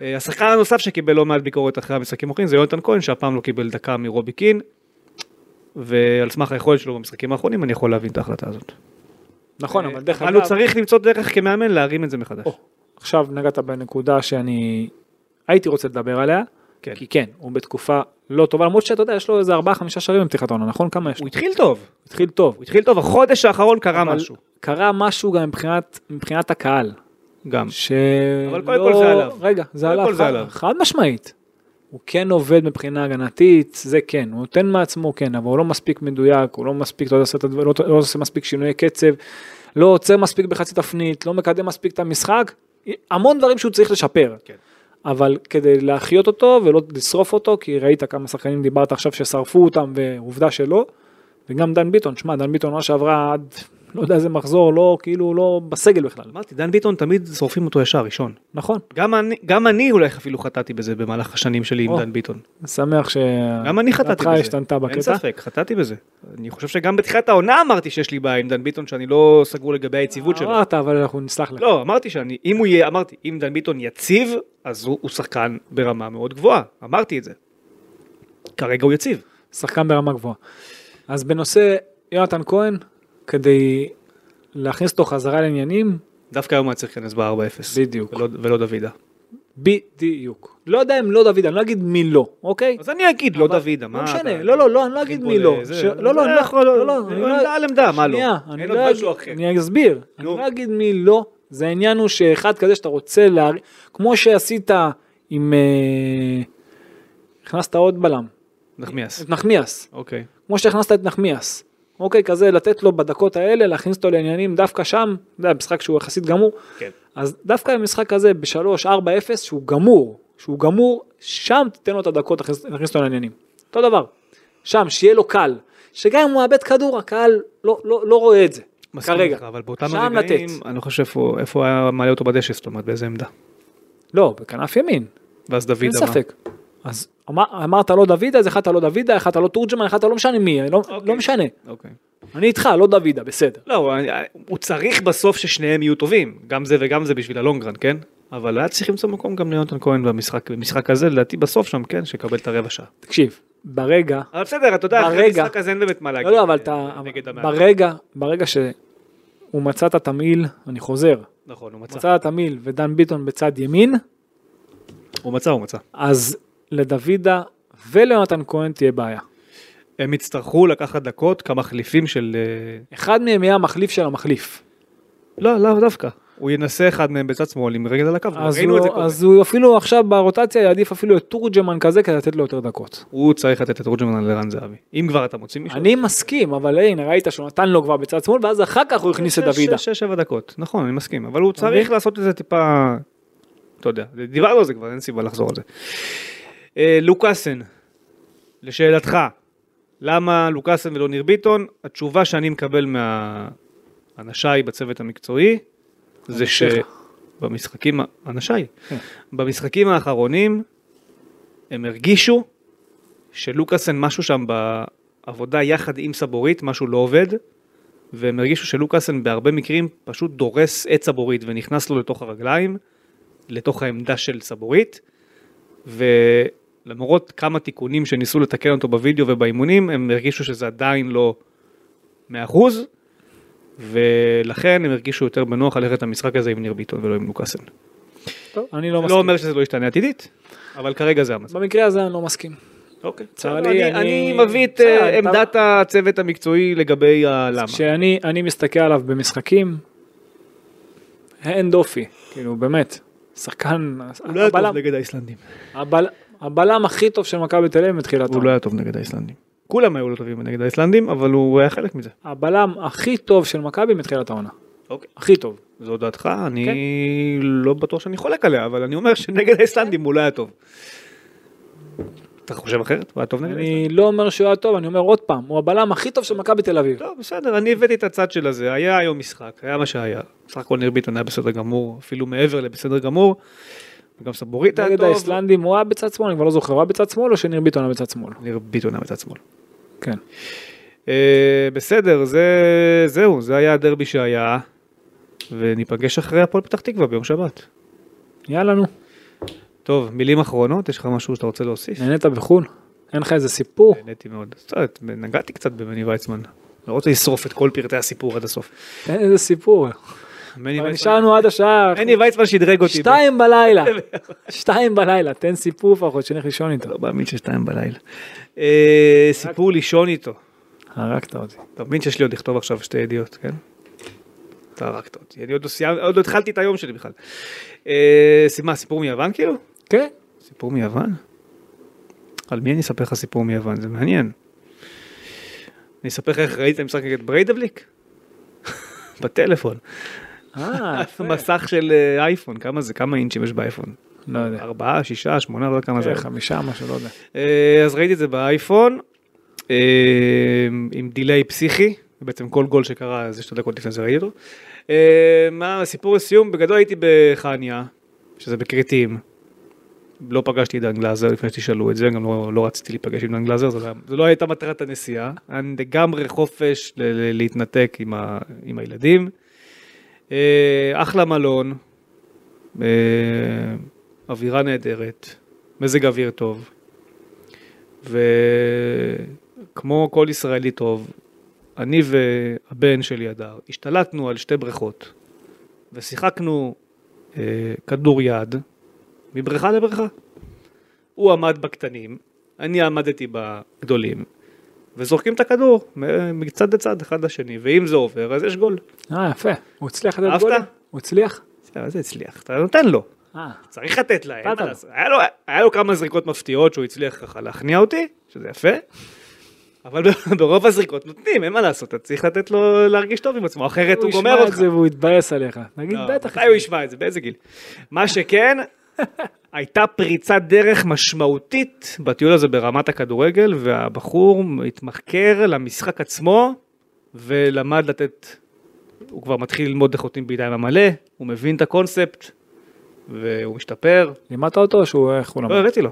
Speaker 2: אה, השחקן הנוסף שקיבל לא מעט ביקורת אחרי המשחקים האחרונים זה יונתן כהן שהפעם לא קיבל דקה מרובי קין ועל סמך היכולת שלו במשחקים האחרונים אני יכול להבין את ההחלטה הזאת.
Speaker 3: נכון, אבל דרך
Speaker 2: אבל הוא
Speaker 3: אגב,
Speaker 2: צריך למצוא דרך כמאמן להרים את זה מחדש.
Speaker 3: עכשיו נגעת בנקודה שאני הייתי רוצה לדבר עליה.
Speaker 2: כן.
Speaker 3: כי כן, הוא בתקופה לא טובה, למרות שאתה יודע, יש לו איזה 4-5 שערים בפתיחת העונה, נכון? כמה יש לו?
Speaker 2: הוא התחיל טוב,
Speaker 3: הוא התחיל טוב.
Speaker 2: הוא התחיל טוב, החודש האחרון קרה
Speaker 3: אבל
Speaker 2: משהו
Speaker 3: קרה משהו גם מבחינת, מבחינת הקהל.
Speaker 2: גם.
Speaker 3: ש...
Speaker 2: אבל קודם כל זה עליו.
Speaker 3: רגע, זה
Speaker 2: קודם
Speaker 3: עליו.
Speaker 2: כל זה
Speaker 3: חד-
Speaker 2: עליו.
Speaker 3: חד משמעית. הוא כן עובד מבחינה הגנתית, זה כן, הוא נותן מעצמו כן, אבל הוא לא מספיק מדויק, הוא לא מספיק, לא עושה, את הדבר- לא, לא עושה מספיק שינויי קצב, לא עוצר מספיק בחצי תפנית, לא מקדם מספיק את המשחק, המון דברים שהוא צריך לשפר.
Speaker 2: כן.
Speaker 3: אבל כדי להחיות אותו ולא לשרוף אותו, כי ראית כמה שחקנים דיברת עכשיו ששרפו אותם ועובדה שלא, וגם דן ביטון, שמע, דן ביטון מה שעברה עד, לא יודע איזה מחזור, לא, כאילו, לא בסגל בכלל,
Speaker 2: אמרתי, דן ביטון תמיד שורפים אותו ישר ראשון.
Speaker 3: נכון?
Speaker 2: גם אני, גם אני אולי אפילו חטאתי בזה במהלך השנים שלי עם
Speaker 3: או.
Speaker 2: דן ביטון.
Speaker 3: אני שמח ש...
Speaker 2: גם אני חטאתי
Speaker 3: דעתך
Speaker 2: בזה.
Speaker 3: השתנתה
Speaker 2: אין
Speaker 3: בקטע.
Speaker 2: ספק, חטאתי בזה. אני חושב שגם בתחילת העונה אמרתי שיש לי בעיה עם דן ביטון, שאני לא סגור לגבי היציבות שלו.
Speaker 3: אמרת, אבל אנחנו נסלח לך.
Speaker 2: לא, אמרתי שאני, אם הוא יהיה, אמרתי, אם דן ביטון יציב, אז הוא הוא שחקן ברמה מאוד גבוהה. אמרתי את זה. כרגע הוא יציב.
Speaker 3: שחקן ברמה גבוהה. אז בנושא יונתן כהן, כדי להכניס אותו חזרה לעניינים,
Speaker 2: דווקא היום היה צריך להיכנס ב-4-0.
Speaker 3: בדיוק.
Speaker 2: ולא, ולא דוידה.
Speaker 3: בדיוק. לא יודע אם לא דוד, אני לא אגיד מי לא, אוקיי?
Speaker 2: אז אני אגיד, לא
Speaker 3: אבל-
Speaker 2: דוידה, מה...
Speaker 3: לא משנה,
Speaker 2: אתה-
Speaker 3: לא, לא, לא, אני לא אגיד
Speaker 2: פה
Speaker 3: מי לא.
Speaker 2: לזה.
Speaker 3: ש- לא, לא,
Speaker 2: זה
Speaker 3: אני לא
Speaker 2: יכול-
Speaker 3: יכול, לא, לא, אני
Speaker 2: אין
Speaker 3: לא-
Speaker 2: עמדה על עמדה, מה לא?
Speaker 3: שנייה, אני
Speaker 2: אין
Speaker 3: לא
Speaker 2: עוד משהו
Speaker 3: אגיד-
Speaker 2: אחר.
Speaker 3: אני אסביר, אני
Speaker 2: נו.
Speaker 3: לא אגיד מי לא, זה העניין הוא שאחד כזה שאתה רוצה להר... כמו שעשית עם... אה, הכנסת עוד בלם,
Speaker 2: נחמיאס.
Speaker 3: את נחמיאס,
Speaker 2: אוקיי.
Speaker 3: כמו שהכנסת את נחמיאס, אוקיי, כזה לתת לו בדקות האלה, להכניס אותו לעניינים דווקא שם, זה משחק שהוא יחסית גמור,
Speaker 2: כן.
Speaker 3: אז דווקא המשחק הזה ב-3-4-0 שהוא גמור, שהוא גמור, שם תיתן לו את הדקות, תכניס תכניס אותו לעניינים. אותו דבר. שם, שיהיה לו קל. שגם אם הוא מאבד כדור, הקהל לא, לא, לא רואה את זה.
Speaker 2: מסכים
Speaker 3: כרגע.
Speaker 2: איתך, אבל באותם
Speaker 3: שם
Speaker 2: הרגעים,
Speaker 3: לתת.
Speaker 2: אני לא חושב איפה- איפה היה מעלה אותו בדשא, זאת אומרת, באיזה עמדה.
Speaker 3: לא, בכנף ימין,
Speaker 2: ואז
Speaker 3: אין
Speaker 2: דוידה, מה?
Speaker 3: ספק. אז אמר, אמרת לא דוידה, אז אחד אתה לא דוידה, אחד אתה לא תורג'מן, אחד אתה לא משנה מי, אני לא,
Speaker 2: אוקיי.
Speaker 3: לא משנה.
Speaker 2: אוקיי.
Speaker 3: אני איתך, לא דוידה, בסדר.
Speaker 2: לא, אני- הוא צריך בסוף ששניהם יהיו טובים, גם זה וגם זה בשביל הלונגרן, כן? אבל היה צריך למצוא מקום גם ליונתן כהן במשחק, במשחק הזה, לדעתי בסוף שם, כן, שיקבל את הרבע שעה.
Speaker 3: תקשיב, ברגע
Speaker 2: אבל בסדר, אתה יודע, אחרי
Speaker 3: ברגע-
Speaker 2: המשחק הזה אין באמת מה להגיד.
Speaker 3: לא, לא, אבל
Speaker 2: אה,
Speaker 3: אתה,
Speaker 2: נגד המאמן.
Speaker 3: ברגע, ברגע שהוא מצא את התמהיל, אני חוזר,
Speaker 2: נכון, הוא מצא.
Speaker 3: מצא את התמהיל ודן ביטון בצד ימין,
Speaker 2: הוא מצא, הוא מצא.
Speaker 3: אז לדוידה וליונתן כהן תהיה בעיה.
Speaker 2: הם יצטרכו לקחת דקות כמחליפים של... אה,
Speaker 3: אחד מהם יהיה המחליף של המחליף.
Speaker 2: לא, לאו דווקא. הוא ינסה אחד מהם בצד שמאל עם רגל על הקו,
Speaker 3: אז
Speaker 2: ראינו את זה
Speaker 3: הוא,
Speaker 2: קודם.
Speaker 3: אז הוא אפילו עכשיו ברוטציה יעדיף אפילו את תורג'מן כזה כדי לתת לו יותר דקות.
Speaker 2: הוא צריך לתת את רוג'רמן לרן זהבי. אם כבר אתה מוציא מישהו.
Speaker 3: אני מסכים, אבל הנה ראית שהוא נתן לו כבר בצד שמאל, ואז אחר כך הוא הכניס את
Speaker 2: שש-
Speaker 3: דוידה.
Speaker 2: שש, שבע דקות, נכון, אני מסכים, אבל הוא
Speaker 3: מבין?
Speaker 2: צריך לעשות את זה טיפה, אתה יודע, דיברנו על זה כבר, אין סיבה לחזור על זה. אה, לוקאסן, לשאלתך, למה לוקאסן ולא ניר ביטון? התשובה שאני מקבל מהאנשיי בצוות המקצועי, זה
Speaker 3: אנשיך.
Speaker 2: שבמשחקים, ה- אנשיי,
Speaker 3: כן.
Speaker 2: במשחקים האחרונים, הם הרגישו שלוקאסן משהו שם בעבודה יחד עם סבורית, משהו לא עובד, והם הרגישו שלוקאסן בהרבה מקרים פשוט דורס את סבורית ונכנס לו לתוך הרגליים, לתוך העמדה של סבורית, ולמרות כמה תיקונים שניסו לתקן אותו בווידאו ובאימונים, הם הרגישו שזה עדיין לא 100%, ולכן הם הרגישו יותר בנוח ללכת למשחק הזה עם ניר ביטון ולא עם לוקאסן.
Speaker 3: טוב, אני לא
Speaker 2: זה לא
Speaker 3: מסכים.
Speaker 2: אומר שזה לא ישתנה עתידית, אבל כרגע זה המצב.
Speaker 3: במקרה הזה אני לא מסכים.
Speaker 2: אוקיי.
Speaker 3: צר
Speaker 2: בסדר,
Speaker 3: לי,
Speaker 2: אני- אני
Speaker 3: אני-
Speaker 2: מביא את
Speaker 3: בסדר,
Speaker 2: אה,
Speaker 3: אתה-
Speaker 2: עמדת הצוות המקצועי לגבי הלמה.
Speaker 3: כשאני אני מסתכל עליו במשחקים, אין דופי, כאילו באמת, שחקן,
Speaker 2: הוא לא היה
Speaker 3: הבלם-
Speaker 2: טוב נגד האיסלנדים.
Speaker 3: הבל- הבלם הכי טוב של מכבי תל אביב מתחילת
Speaker 2: הוא לא היה טוב נגד האיסלנדים. כולם היו לא טובים נגד האיסלנדים, אבל הוא היה חלק מזה.
Speaker 3: הבלם הכי טוב של מכבי מתחילת העונה.
Speaker 2: אוקיי.
Speaker 3: הכי טוב.
Speaker 2: זו דעתך, אני
Speaker 3: כן.
Speaker 2: לא בטוח שאני חולק עליה, אבל אני אומר שנגד האיסלנדים הוא לא היה טוב. אתה חושב אחרת? הוא היה טוב נגד האיסלנדים.
Speaker 3: אני לא אומר שהוא היה טוב, אני אומר עוד פעם, הוא הבלם הכי טוב של מכבי תל אביב.
Speaker 2: לא, בסדר, אני הבאתי את הצד של הזה, היה היום משחק, היה מה שהיה. בסך הכל ניר ביטון היה בסדר גמור, אפילו מעבר לבסדר גמור. וגם סבורית היה
Speaker 3: נגד
Speaker 2: טוב.
Speaker 3: האיסלנדים הוא היה בצד שמאל, אני כבר לא זוכר, הוא היה בצד שמאל או שניר ביטון היה בצד שמאל?
Speaker 2: ניר ביטון היה בצד שמאל.
Speaker 3: כן.
Speaker 2: אה, בסדר, זה, זהו, זה היה הדרבי שהיה, וניפגש אחרי הפועל פתח תקווה ביום שבת.
Speaker 3: יאללה נו,
Speaker 2: טוב, מילים אחרונות, יש לך משהו שאתה רוצה להוסיף?
Speaker 3: נהנית בחו"ל? אין לך איזה סיפור?
Speaker 2: נהניתי מאוד. קצת, נגעתי קצת במני ויצמן. לא רוצה לשרוף את כל פרטי הסיפור עד הסוף.
Speaker 3: אין איזה סיפור.
Speaker 2: מני
Speaker 3: כבר
Speaker 2: ויצמן-
Speaker 3: נשארנו עד השעה
Speaker 2: מני ויצמן שדרג אותי.
Speaker 3: שתיים בלילה. שתיים בלילה, תן סיפור לפחות, שנלך לישון איתו.
Speaker 2: לא מאמין ששתיים בלילה. אה, סיפור לישון איתו.
Speaker 3: הרגת אותי.
Speaker 2: אתה מבין שיש לי עוד לכתוב עכשיו שתי ידיעות, כן? אתה הרגת אותי. אני עוד לא סיימ- עוד לא התחלתי את היום שלי בכלל. אה, מה, סיפור מיוון כאילו?
Speaker 3: כן?
Speaker 2: סיפור מיוון? על מי אני אספר לך סיפור מיוון? זה מעניין. אני אספר לך איך ראית משחק נגד בריידבליק? בטלפון.
Speaker 3: אה, יפה.
Speaker 2: מסך של אה, אייפון, כמה זה? כמה אינצ'ים יש באייפון?
Speaker 3: לא יודע.
Speaker 2: ארבעה, שישה, שמונה, לא יודע כמה זה.
Speaker 3: זה חמישה משהו, לא יודע.
Speaker 2: אה, אז ראיתי את זה באייפון, אה, עם דיליי פסיכי, בעצם כל גול שקרה איזה שתי דקות לפני זה ראיתי אותו. אה, מה הסיפור לסיום? בגדול הייתי בחניה, שזה בכרתים. לא פגשתי את דן גלאזר לפני שתשאלו את זה, גם לא, לא רציתי להיפגש עם דן גלאזר, זה לא, היה- זה לא הייתה מטרת הנסיעה. היה לגמרי חופש ל- ל- להתנתק עם, ה, עם הילדים. אה, אחלה מלון, אה, אווירה נהדרת, מזג אוויר טוב. וכמו כל ישראלי טוב, אני והבן שלי הדר השתלטנו על שתי בריכות ושיחקנו אה, כדור יד מבריכה לבריכה. הוא עמד בקטנים, אני עמדתי בגדולים, וזורקים את הכדור מ- מצד לצד אחד לשני, ואם זה עובר אז יש גול.
Speaker 3: אה, יפה. הוא הצליח לתת
Speaker 2: אהבת?
Speaker 3: גולים? הוא הצליח?
Speaker 2: בסדר, זה הצליח, אתה נותן לו.
Speaker 3: אה,
Speaker 2: צריך לתת לה, אין
Speaker 3: נתת
Speaker 2: מה
Speaker 3: לו.
Speaker 2: לעשות. היה לו- היה לו כמה זריקות מפתיעות שהוא הצליח ככה להכניע אותי, שזה יפה, אבל ברוב הזריקות נותנים, אין מה לעשות, אתה צריך לתת לו להרגיש טוב עם עצמו, אחרת כן, הוא גומר
Speaker 3: ישמע את
Speaker 2: אותך.
Speaker 3: זה והוא יתבאס עליך. נגיד,
Speaker 2: לא,
Speaker 3: בטח.
Speaker 2: מתי הוא ישמע את זה, באיזה גיל? מה שכן, הייתה פריצת דרך משמעותית בטיול הזה ברמת הכדורגל, והבחור התמחקר למשחק עצמו, ולמד לתת, הוא כבר מתחיל ללמוד איך נותנים בידיים המלא, הוא מבין את הקונספט, והוא משתפר.
Speaker 3: לימדת אותו או שהוא, איך הוא
Speaker 2: לא,
Speaker 3: למד?
Speaker 2: הראיתי לו.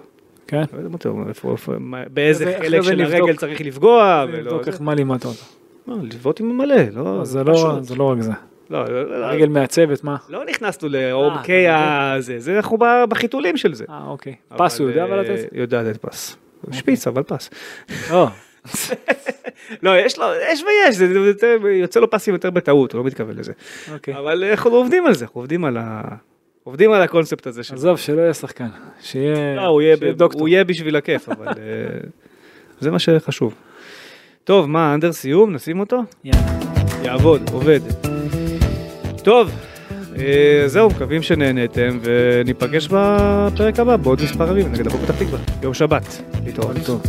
Speaker 3: כן?
Speaker 2: לא יודעת אותו, איפה- איפה- מה- באיזה
Speaker 3: אחרי זה
Speaker 2: חלק של
Speaker 3: נבדוק.
Speaker 2: הרגל צריך לפגוע, ולא...
Speaker 3: נבדוק איך לא מה לימדת אותו.
Speaker 2: לא, לבעוט עם המלא, לא...
Speaker 3: לא, זה
Speaker 2: משהו-
Speaker 3: לא- זה לא רק זה.
Speaker 2: לא, לא, לא,
Speaker 3: רגל מעצבת, מה?
Speaker 2: לא נכנסנו
Speaker 3: אה,
Speaker 2: לעומקי
Speaker 3: אתה
Speaker 2: הזה, זה אנחנו ב- בחיתולים של זה.
Speaker 3: אה, אוקיי. פס הוא יודע אבל לתת? אוקיי.
Speaker 2: אה, יודע לתת פס. שפיץ, אבל פס. אה,
Speaker 3: לא.
Speaker 2: לא, יש לו, יש ויש, זה- זה- זה- יוצא לו פסים יותר בטעות, הוא לא מתכוון לזה.
Speaker 3: אוקיי.
Speaker 2: אבל אנחנו עובדים על זה, אנחנו עובדים על ה... עובדים על הקונספט הזה של...
Speaker 3: עזוב, שלא יהיה שחקן. שיהיה
Speaker 2: לא, הוא יהיה
Speaker 3: שיהיה
Speaker 2: ב-
Speaker 3: דוקטור.
Speaker 2: הוא יהיה בשביל הכיף, אבל אה, זה מה שחשוב. טוב, מה, אנדר סיום? נשים אותו?
Speaker 3: יאללה.
Speaker 2: יעבוד, עובד. טוב, אה, זהו, מקווים שנהנתם, וניפגש בפרק הבא בעוד מספר ימים נגד הפועל פתח תקווה. יום שבת, להתראות.
Speaker 3: טוב.